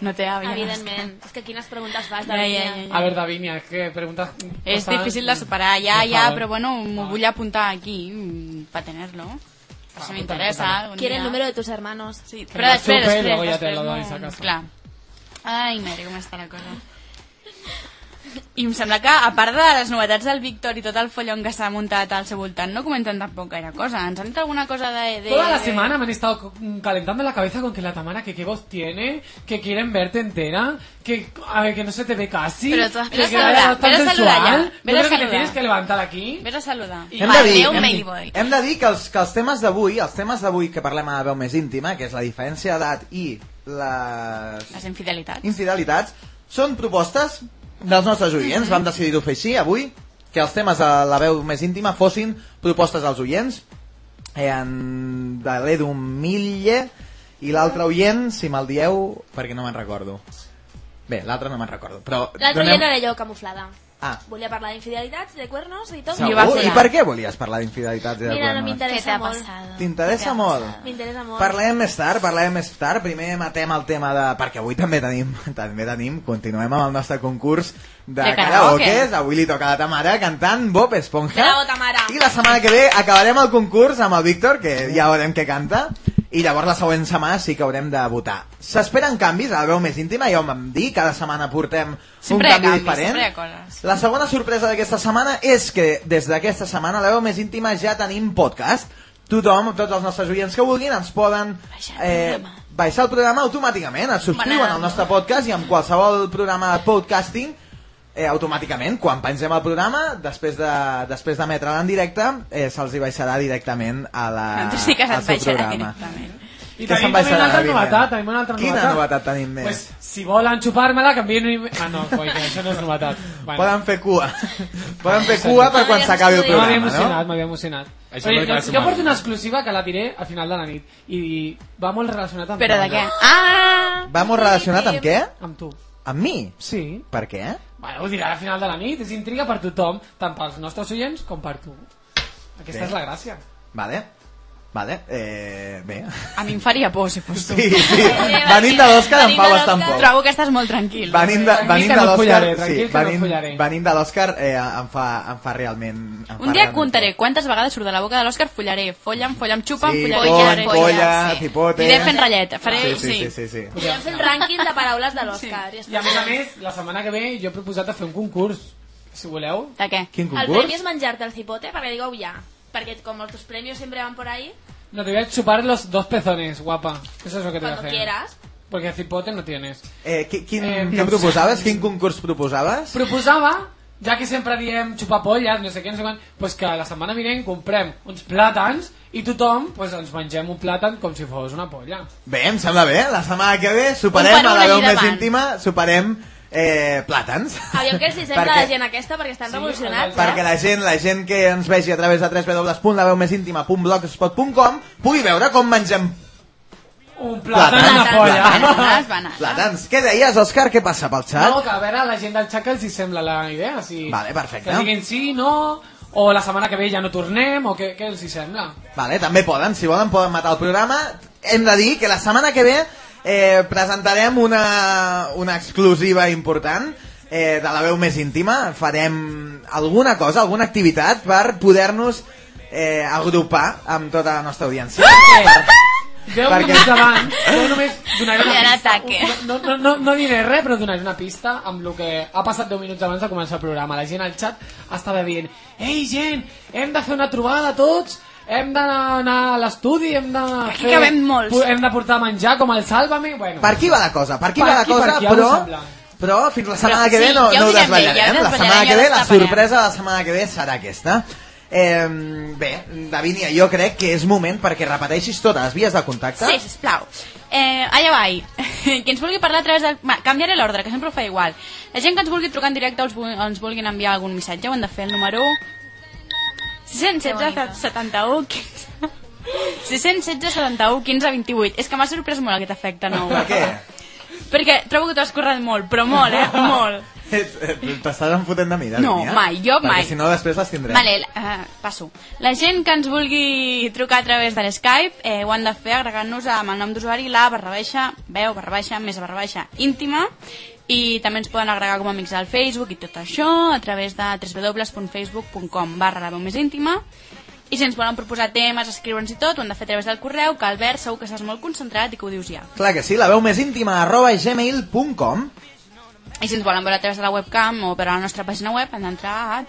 Speaker 4: No té àvia.
Speaker 6: Evidentment. És que quines preguntes fas,
Speaker 4: Ja, ja, ja,
Speaker 6: Davinia.
Speaker 4: ja.
Speaker 7: A ver, Davinia, que preguntas... mm.
Speaker 4: És
Speaker 7: cosas-
Speaker 4: difícil de superar, ja,
Speaker 7: Por
Speaker 4: ja,
Speaker 7: favor. Ah,
Speaker 4: però bueno, m'ho vull apuntar aquí mm, per tenir-lo. Per Si m'interessa. algun
Speaker 6: Quiere el
Speaker 4: dia.
Speaker 6: número de tus hermanos.
Speaker 4: Sí,
Speaker 7: lo
Speaker 4: però després,
Speaker 7: supe i
Speaker 4: després,
Speaker 7: luego ja te
Speaker 4: després,
Speaker 7: lo
Speaker 4: no-
Speaker 7: dois a casa.
Speaker 4: Clar. Ai, mare, com està la cosa. I em sembla que, a part de les novetats del Víctor i tot el follón que s'ha muntat al seu voltant, no comenten tampoc gaire cosa. Ens han dit alguna cosa de... de...
Speaker 7: Toda la semana me han estado mm, calentando la cabeza con que la Tamara, que qué voz tiene, que quieren verte entera, que, a ver, que no se te ve casi.
Speaker 5: Pero tú has
Speaker 7: que
Speaker 5: pensado-
Speaker 7: queda
Speaker 4: Vela,
Speaker 7: tan
Speaker 4: vela
Speaker 7: sensual.
Speaker 4: saluda ya, vela
Speaker 7: Yo creo que te
Speaker 4: saluda.
Speaker 7: tienes que levantar aquí.
Speaker 4: Vés a saludar.
Speaker 3: Hem de, dir,
Speaker 5: Valdeu
Speaker 3: hem,
Speaker 5: Playboy.
Speaker 3: hem de dir que els, que els temes d'avui, els temes d'avui que parlem a la veu més íntima, que és la diferència d'edat i les
Speaker 4: Les infidelitats.
Speaker 3: infidelitats, són propostes dels nostres
Speaker 6: Mhm.
Speaker 3: oients. Vam decidir-ho fer així avui, que els temes de la veu més íntima fossin propostes dels oients, eh, en, de l'Edu Mille i l'altre oient, si me'l dieu, perquè no me'n recordo. Bé, l'altre no me'n recordo, però...
Speaker 6: L'altre
Speaker 3: donem-
Speaker 6: dia no era jo camuflada.
Speaker 3: Ah.
Speaker 6: Volia parlar d'infidelitats, de cuernos i tot.
Speaker 4: Sí, ho va
Speaker 3: Segur?
Speaker 4: fer
Speaker 3: I
Speaker 4: ell.
Speaker 3: per què volies parlar d'infidelitats? i de
Speaker 6: Mira, no
Speaker 3: problemes?
Speaker 5: ¿Qué te
Speaker 6: m'interessa
Speaker 5: ha
Speaker 6: molt.
Speaker 5: pasado?
Speaker 3: T'interessa molt.
Speaker 6: M'interessa molt.
Speaker 3: Parlem més tard, parlem més tard. Primer matem el tema de... Perquè avui també tenim, (laughs) també tenim, continuem amb el nostre concurs de,
Speaker 4: De karaoke.
Speaker 3: karaokes. Avui li toca a la Tamara cantant Bob Esponja.
Speaker 6: Bravo, Tamara.
Speaker 3: I la setmana que ve acabarem el concurs amb el Víctor, que ja veurem què canta. I llavors la següent setmana sí que haurem de votar. S'esperen canvis a la veu més íntima, ja ho vam dir, cada setmana portem
Speaker 4: Sempre hi
Speaker 3: un
Speaker 4: ha
Speaker 3: canvi
Speaker 4: canvis,
Speaker 3: diferent.
Speaker 4: sempre hi ha coses.
Speaker 3: La segona sorpresa d'aquesta setmana és que des d'aquesta setmana la veu més íntima ja tenim podcast. Tothom, tots els nostres oients que vulguin, ens poden
Speaker 4: Baixar el
Speaker 3: eh,
Speaker 4: programa.
Speaker 3: baixar el programa automàticament, es subscriuen
Speaker 4: Banana.
Speaker 3: al nostre podcast i amb qualsevol programa de podcasting eh, automàticament, quan pengem el programa, després de, després d'emetre'l en directe, eh, se'ls hi baixarà directament a la,
Speaker 7: Ah,
Speaker 4: Tu sí que
Speaker 3: al
Speaker 4: se't
Speaker 3: seu
Speaker 4: baixarà
Speaker 3: programa.
Speaker 4: directament.
Speaker 7: Y
Speaker 3: Que se'n
Speaker 7: también,
Speaker 3: vaig
Speaker 7: también
Speaker 3: a
Speaker 7: una
Speaker 3: la
Speaker 7: altra
Speaker 3: vida.
Speaker 7: novetat, también una altra
Speaker 3: Quina
Speaker 7: novetat.
Speaker 3: novetat tenim més?
Speaker 7: Pues, si volen xupar-me-la, que enviïn... un im- Ah, no, coi, que això no és novetat. Bueno,
Speaker 3: Poden fer
Speaker 4: (laughs)
Speaker 3: cua. Poden fer cua per quan s'acabi el
Speaker 7: no m'havia
Speaker 3: programa, no?
Speaker 7: emocionat, m'havia emocionat.
Speaker 8: Això
Speaker 7: Oye,
Speaker 8: no
Speaker 7: jo,
Speaker 8: queda
Speaker 7: jo
Speaker 8: setmana.
Speaker 7: porto una exclusiva que la diré al final de la nit i va molt relacionat amb
Speaker 4: Però
Speaker 7: tu,
Speaker 4: de què?
Speaker 7: Andreu.
Speaker 4: Ah!
Speaker 3: Va molt relacionat amb què?
Speaker 7: Amb tu.
Speaker 3: Amb mi?
Speaker 7: Sí.
Speaker 3: Per què?
Speaker 7: Bueno, ho dirà al final de la nit, és intriga per tothom, tant pels nostres oients com per tu. Aquesta
Speaker 3: Bé.
Speaker 7: és la gràcia.
Speaker 3: Vale. Vale. Eh, bé.
Speaker 7: (laughs)
Speaker 4: A mi em faria por si fos tu.
Speaker 3: Sí, sí. Venim de l'Òscar en
Speaker 6: venim de
Speaker 3: Pau
Speaker 6: l'Òscar.
Speaker 3: estan poc.
Speaker 4: Trobo que estàs molt tranquil.
Speaker 3: Venim de, venim
Speaker 7: que
Speaker 3: de
Speaker 7: no et
Speaker 3: l'Òscar,
Speaker 7: follaré, tranquil
Speaker 3: sí,
Speaker 7: que no et
Speaker 3: venim,
Speaker 7: follaré.
Speaker 3: venim de l'Òscar eh, em, fa, em fa realment... Em fa
Speaker 4: Un dia
Speaker 3: realment
Speaker 4: contaré
Speaker 3: por.
Speaker 4: quantes vegades surt de la boca de l'Òscar follaré. Follam, follam, xupam,
Speaker 3: Sí,
Speaker 4: follaré,
Speaker 3: polla,
Speaker 4: follaré.
Speaker 3: polla,
Speaker 5: sí.
Speaker 3: cipote...
Speaker 4: Aniré fent ratlleta, faré-
Speaker 3: Sí, sí,
Speaker 4: sí.
Speaker 3: sí, sí, sí.
Speaker 6: Podríem fer el rànquing de paraules de l'Òscar. Ja
Speaker 7: I a
Speaker 6: està.
Speaker 7: més a més, la setmana que ve jo he proposat a fer un concurs, si voleu.
Speaker 4: De què?
Speaker 3: Quin
Speaker 6: El premi
Speaker 3: concurs?
Speaker 6: és menjar-te el cipote, perquè digo ja. Perquè com els tus premios siempre van por ahí,
Speaker 7: No te voy a chupar los dos pezones, guapa. Eso es lo que te voy a
Speaker 6: cuando
Speaker 7: hacer.
Speaker 6: quieras.
Speaker 7: Porque cipote no tienes.
Speaker 3: Eh, qui- quin,
Speaker 7: Eh,
Speaker 3: què
Speaker 7: no
Speaker 3: proposaves? Quin concurs proposaves?
Speaker 7: Proposava, ja que sempre diem xupar polles, no sé què, no sé quan, pues que la setmana vinent comprem uns plàtans i tothom pues, ens mengem un plàtan com si fos una polla.
Speaker 3: Bé, em sembla bé. La setmana que ve
Speaker 4: Un
Speaker 3: superem
Speaker 4: per
Speaker 3: a
Speaker 4: un
Speaker 3: la veu
Speaker 4: anirà
Speaker 3: més
Speaker 4: avant.
Speaker 3: íntima, superem eh, plàtans.
Speaker 6: Aviam
Speaker 3: (laughs)
Speaker 6: què els hi sembla
Speaker 3: Perquè-
Speaker 6: a la gent aquesta, perquè estan
Speaker 7: Sí,
Speaker 6: revolucionats,
Speaker 3: perquè
Speaker 6: eh?
Speaker 3: la gent, la gent que ens vegi a través de www.laveumésintima.blogspot.com pugui veure com mengem
Speaker 7: Un plàtan,
Speaker 3: Plàtan,
Speaker 7: plàtan una polla.
Speaker 3: plàtan.
Speaker 4: Vanes, vanes.
Speaker 3: plàtans. Què deies, Òscar? Què passa pel
Speaker 7: No,
Speaker 3: xat?
Speaker 7: que a veure a la gent del xac els hi sembla la idea. Si
Speaker 3: Vale, perfecte.
Speaker 7: Que diguin sí, no, o la setmana que ve ja no tornem, o què, què els hi sembla.
Speaker 3: Vale, també poden, si volen poden matar el programa. Hem de dir que la setmana que ve eh, presentarem una, una exclusiva important eh, de la veu més íntima. Farem alguna cosa, alguna activitat per poder-nos eh, agrupar amb tota la nostra audiència.
Speaker 7: Deu
Speaker 3: Perquè-
Speaker 7: minuts abans, jo només donaré una
Speaker 4: Hi ha
Speaker 7: pista.
Speaker 4: ataque.
Speaker 7: No, no, no, no diré res, però donaré una pista amb el que ha passat 10 minuts abans de començar el programa. La gent al xat estava dient Ei, gent, hem de fer una trobada tots, hem d'anar a l'estudi, hem de
Speaker 4: Aquí cabem molts."
Speaker 7: pu- Hem de portar menjar com el Sálvame. Bueno,
Speaker 3: Per aquí va la cosa, per aquí
Speaker 7: Per
Speaker 3: va la
Speaker 7: aquí, per
Speaker 3: cosa,
Speaker 7: aquí,
Speaker 3: però...
Speaker 7: algo semblant.
Speaker 3: Però fins la setmana
Speaker 4: Però
Speaker 3: que ve
Speaker 4: sí,
Speaker 3: no,
Speaker 4: ja ho
Speaker 3: no ho
Speaker 4: direm bé, ja ho
Speaker 3: desvetllarem. La
Speaker 4: desvetllarem,
Speaker 3: setmana
Speaker 4: ja
Speaker 3: que ve, la
Speaker 4: destaparem.
Speaker 3: sorpresa de la setmana que ve serà aquesta. Eh, bé, Davinia, jo crec que és moment perquè repeteixis totes les vies de contacte.
Speaker 4: Sí, sisplau. Eh, allà vai. (laughs) Qui ens vulgui parlar a través de... Va, canviaré l'ordre, que sempre ho fa igual. La gent que ens vulgui trucar en directe o ens, vul- ens vulguin enviar algun missatge, ho han de fer el número... 616 71 15... 616 71 15 28. És que m'ha sorprès molt aquest efecte nou.
Speaker 3: Per què?
Speaker 4: Perquè trobo que t'ho has currat molt, però molt, eh? Molt.
Speaker 3: T'estàs enfotent de mi, Davinia?
Speaker 4: No, mai, jo
Speaker 3: perquè
Speaker 4: mai.
Speaker 3: si no després les tindrem.
Speaker 4: Vale, uh, passo. La gent que ens vulgui trucar a través de l'Skype eh, ho han de fer agregant-nos amb el nom d'usuari la barra baixa, veu, barra baixa, més barra baixa, íntima i també ens poden agregar com a amics al Facebook i tot això a través de www.facebook.com barra la veu més íntima i si ens volen proposar temes, escriure'ns i tot, ho han de fer a través del correu, que Albert segur que estàs molt concentrat i que ho dius ja.
Speaker 3: Clar que sí, la veu més íntima arroba gmail.com
Speaker 4: I si ens volen veure a través de la webcam o per a la nostra pàgina web, han d'entrar a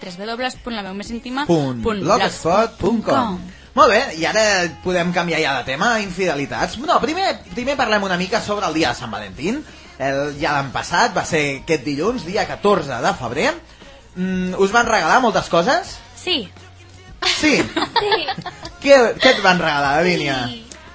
Speaker 4: www.laveumésíntima.blogspot.com
Speaker 3: www.blogspot.com Molt bé, i ara podem canviar ja de tema, infidelitats. No, primer, primer parlem una mica sobre el dia de Sant Valentín. El, ja l'han passat, va ser aquest dilluns, dia 14 de febrer. Mm, us van regalar moltes coses?
Speaker 4: Sí, (laughs)
Speaker 3: Sí. Què, què et van regalar, Davinia?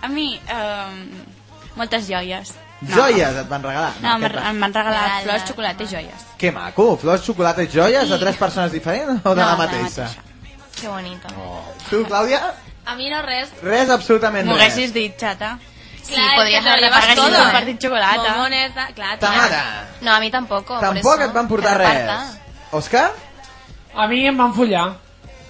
Speaker 4: A mi, um, moltes joies. No.
Speaker 3: Joies et van regalar?
Speaker 4: No, em,
Speaker 3: què et va-
Speaker 4: em van regalar
Speaker 5: Regalar.
Speaker 4: flors, xocolata i joies.
Speaker 3: Que maco, flors, xocolata i joies de tres persones diferents o de la
Speaker 4: No, de la
Speaker 3: mateixa?
Speaker 4: mateixa.
Speaker 5: Qué bonito.
Speaker 8: Oh.
Speaker 3: Tu, Clàudia?
Speaker 6: A mi no res.
Speaker 3: Res, absolutament
Speaker 4: M'ho
Speaker 3: res.
Speaker 4: haguessis dit, xata. Sí,
Speaker 6: Clar,
Speaker 5: podías
Speaker 6: es
Speaker 4: Ah,
Speaker 6: que te lo
Speaker 5: haberle
Speaker 6: llevas
Speaker 5: pagado
Speaker 6: todo,
Speaker 5: sin
Speaker 6: ¿eh?
Speaker 5: compartir
Speaker 4: chocolate.
Speaker 6: Bombones, da- claro.
Speaker 3: Tamara,
Speaker 5: No, a mí tampoco. por
Speaker 3: tampoc
Speaker 5: eso,
Speaker 3: et van
Speaker 5: que
Speaker 3: portar
Speaker 5: reparta.
Speaker 3: res. Òscar?
Speaker 7: A mi em van follar.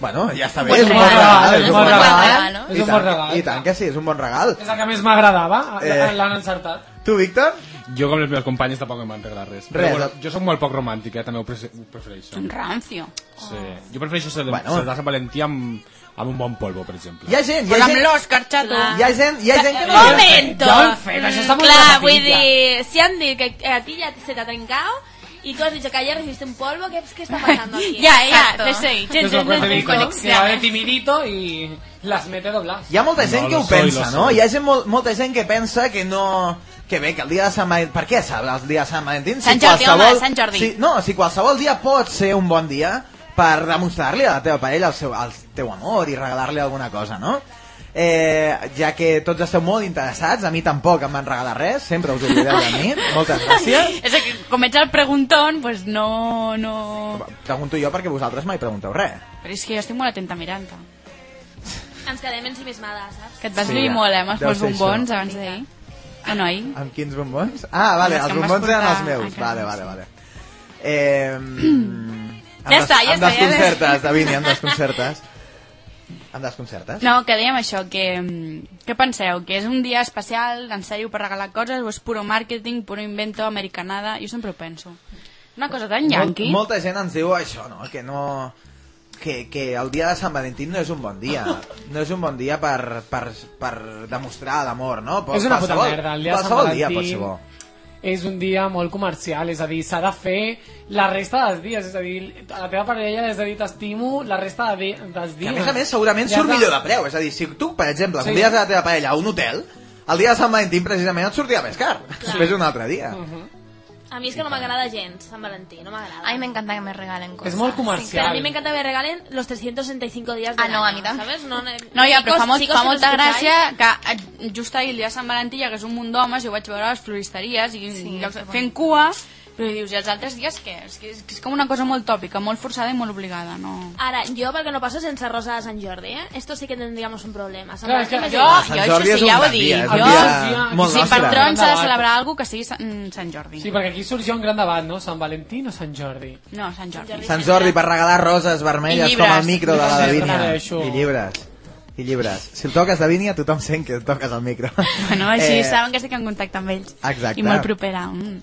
Speaker 3: Bueno, ja està bé.
Speaker 5: Bon
Speaker 3: és un
Speaker 5: regal,
Speaker 3: bon regal. És un bon regal.
Speaker 5: regal, no?
Speaker 7: És un
Speaker 3: tant
Speaker 7: bon
Speaker 3: que-
Speaker 7: regal.
Speaker 3: I tant que sí, és un bon regal.
Speaker 7: És el que més m'agradava,
Speaker 3: Eh.
Speaker 7: l'han encertat.
Speaker 3: Tu, Víctor?
Speaker 8: Jo, com les meves companyes, tampoc em van regalar res.
Speaker 3: Res.
Speaker 8: Però, bueno, jo sóc molt poc romàntic, eh? també ho, prese- ho prefereixo.
Speaker 4: Un rancio.
Speaker 8: Sí. Jo prefereixo ser de,
Speaker 3: Mm. Bueno.
Speaker 8: bueno. de Sant Valentí amb, amb un bon polvo, per exemple.
Speaker 3: Hi ha gent, hi
Speaker 4: Però
Speaker 3: ha
Speaker 4: amb
Speaker 3: gent...
Speaker 4: l'Òscar, xato.
Speaker 3: Hi ha gent, hi ha gent que... no-
Speaker 6: Momento.
Speaker 7: Ja ho hem fet, això està molt
Speaker 6: Clar,
Speaker 7: dramatit,
Speaker 6: vull
Speaker 7: ja.
Speaker 6: dir, si han dit Eh, que a ti ya se te ha trincado y tú has dicho que ayer recibiste un polvo, ¿qué, qué está pasando aquí?
Speaker 4: (laughs) (laughs) Ja, ja,
Speaker 5: Exacto.
Speaker 4: de seguir.
Speaker 7: Que
Speaker 4: Gent,
Speaker 7: es lo
Speaker 4: gent,
Speaker 7: que te
Speaker 4: gent,
Speaker 7: digo, se
Speaker 6: eh.
Speaker 7: va de
Speaker 4: connexió.
Speaker 7: timidito y las mete dobladas.
Speaker 3: Hi ha molta gent
Speaker 8: No,
Speaker 3: que
Speaker 8: lo
Speaker 3: ho
Speaker 8: soy,
Speaker 3: pensa,
Speaker 8: lo
Speaker 3: no?
Speaker 8: soy.
Speaker 3: Hi ha gent, mol, molta gent que pensa que no... Que bé, que el dia de Sant Valentín... Per què sabe el dia de Sant Valentín?
Speaker 4: Sant Jordi, home, Sant Jordi.
Speaker 3: Si, no, si qualsevol dia pot ser un bon dia per demostrar-li a la teva parella el, seu, el teu amor i regalar-li alguna cosa, no? Eh, ja que tots esteu molt interessats, a mi tampoc em van regalar res, sempre us oblideu de
Speaker 4: (laughs)
Speaker 3: mi, moltes gràcies.
Speaker 4: És que com ets el preguntón, pues no, no...
Speaker 3: Pregunto jo perquè vosaltres mai pregunteu res.
Speaker 4: Però és que jo estic molt atenta mirant-te.
Speaker 6: Ens quedem ensimismades, saps?
Speaker 4: Que et vas
Speaker 3: Sí,
Speaker 4: lluir
Speaker 3: ja.
Speaker 4: molt, eh, amb els
Speaker 3: Deu
Speaker 4: molts
Speaker 3: ser
Speaker 4: bombons
Speaker 3: això.
Speaker 4: abans d'ahir. O noi?
Speaker 3: Amb quins bombons? Ah, vale, els
Speaker 4: Amb els que em vas
Speaker 3: bombons eren els
Speaker 4: portar ah, a
Speaker 3: meus.
Speaker 4: casa,
Speaker 3: Vale,
Speaker 4: sí.
Speaker 3: vale, vale. Eh,
Speaker 4: (clears throat) Ja està,
Speaker 3: Em
Speaker 4: ja està, ja
Speaker 3: desconcertes, Davini, em desconcertes. Em desconcertes?
Speaker 4: No, que dèiem això, que... mm, Què penseu? Que és un dia especial, en sèrio, per regalar coses, o és puro màrqueting, puro invento, americanada? Jo sempre ho penso. Una cosa tan yanqui.
Speaker 3: Mol, molta gent ens diu això, no? Que no... Que, que el dia de Sant Valentí no és un bon dia. No és un bon dia per, per, per demostrar l'amor, no? Però
Speaker 7: És una puta
Speaker 3: qualsevol-
Speaker 7: merda. El dia de Sant
Speaker 3: qualsevol dia pot
Speaker 7: Valentí
Speaker 3: ser bo.
Speaker 7: és un dia molt comercial, és a dir, s'ha de fer la resta dels dies, és a dir, a la teva parella li has de dir t'estimo la resta de, di- dels
Speaker 3: Que
Speaker 7: dies.
Speaker 3: a més a més segurament
Speaker 7: Li has
Speaker 3: surt
Speaker 7: de-
Speaker 3: millor de preu. És a dir, si tu, per exemple,
Speaker 7: Sí.
Speaker 3: convides a la teva parella a un hotel, el dia de Sant Valentí precisament et sortirà més car. Després d'un altre dia.
Speaker 4: Mm-hmm.
Speaker 6: A mi és que no m'agrada gens Sant Valentí, no m'agrada.
Speaker 5: A mí me encanta que me regalen cosas.
Speaker 7: Es muy comercial.
Speaker 5: Sí,
Speaker 6: Pero a mí me encanta que me regalen los 365 días de
Speaker 5: Ah, no, a mí también.
Speaker 6: ¿sabes? No, no,
Speaker 4: No, ja, però
Speaker 6: chicos,
Speaker 4: fa, molt,
Speaker 6: chicos,
Speaker 4: fa
Speaker 6: si nos
Speaker 4: molta gràcia
Speaker 6: escucháis,
Speaker 4: que eh, just ahir, el dia de Sant Valentí, hi hagués un munt d'homes, jo ho vaig veure a les floristeries i
Speaker 5: Sí,
Speaker 4: sí, llocs,
Speaker 5: que bonic.
Speaker 4: fent cua, però dius, i els altres dies què? És que és, que és com una cosa molt tòpica, molt forçada i molt obligada, no...
Speaker 6: Ara, jo, perquè no passo sense Rosa de Sant Jordi, eh? Esto sí que tendríamos un problema. Sant
Speaker 7: Clar, és
Speaker 6: Valentí
Speaker 7: que
Speaker 6: m'és
Speaker 4: Jo,
Speaker 6: igual.
Speaker 3: Sant
Speaker 4: jo
Speaker 3: Jordi
Speaker 4: això
Speaker 3: és
Speaker 4: sí,
Speaker 3: un
Speaker 4: ja ho
Speaker 3: gran
Speaker 4: he dit.
Speaker 3: dia, és un
Speaker 4: Jo,
Speaker 3: dia molt
Speaker 4: si
Speaker 3: nostre.
Speaker 4: patrons
Speaker 7: Gran
Speaker 4: s'ha de
Speaker 7: debat.
Speaker 4: celebrar alguna cosa, que sigui Sant, mm, Sant Jordi.
Speaker 7: Sí, perquè aquí sorgia un gran debat, no? Sant Valentí o Sant Jordi?
Speaker 4: No, Sant Jordi.
Speaker 3: Sant Jordi per regalar roses vermelles
Speaker 4: I
Speaker 3: com
Speaker 4: llibres.
Speaker 3: el micro de la
Speaker 7: Sí,
Speaker 3: Davinia.
Speaker 7: regaleixo.
Speaker 3: I llibres. I llibres. Si el toques Davinia, tothom sent que toques el micro.
Speaker 4: Bueno, així
Speaker 3: Eh,
Speaker 4: saben que estic en contacte amb ells.
Speaker 3: Exacte.
Speaker 4: I molt propera. Mm.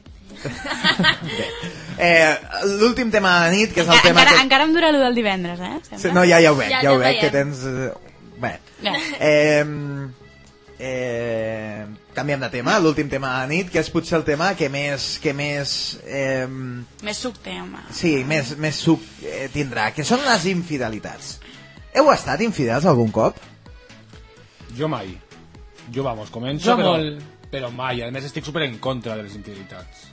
Speaker 3: Bé. Eh, L'últim tema de la nit, que és el
Speaker 4: Encara,
Speaker 3: tema...
Speaker 4: Eh, encara,
Speaker 3: que...
Speaker 4: encara em dura allò del divendres, eh? Sembla.
Speaker 3: Sí, no, ja, ja ho veig, ja,
Speaker 6: Ja-
Speaker 3: ja ho
Speaker 6: ja
Speaker 3: veig, que
Speaker 6: veiem.
Speaker 3: tens... eh, Bé.
Speaker 4: Ja.
Speaker 3: Eh, eh, canviem de tema, l'últim tema de la nit, que és potser el tema que més... Que més eh,
Speaker 4: Més subte, home.
Speaker 3: sí, més, més suc eh, tindrà, que són les infidelitats. Heu estat infidels algun cop?
Speaker 8: Jo mai. Jo, vamos, començo,
Speaker 7: Jo
Speaker 8: però,
Speaker 7: molt.
Speaker 8: però mai. A més, estic super en contra de les infidelitats.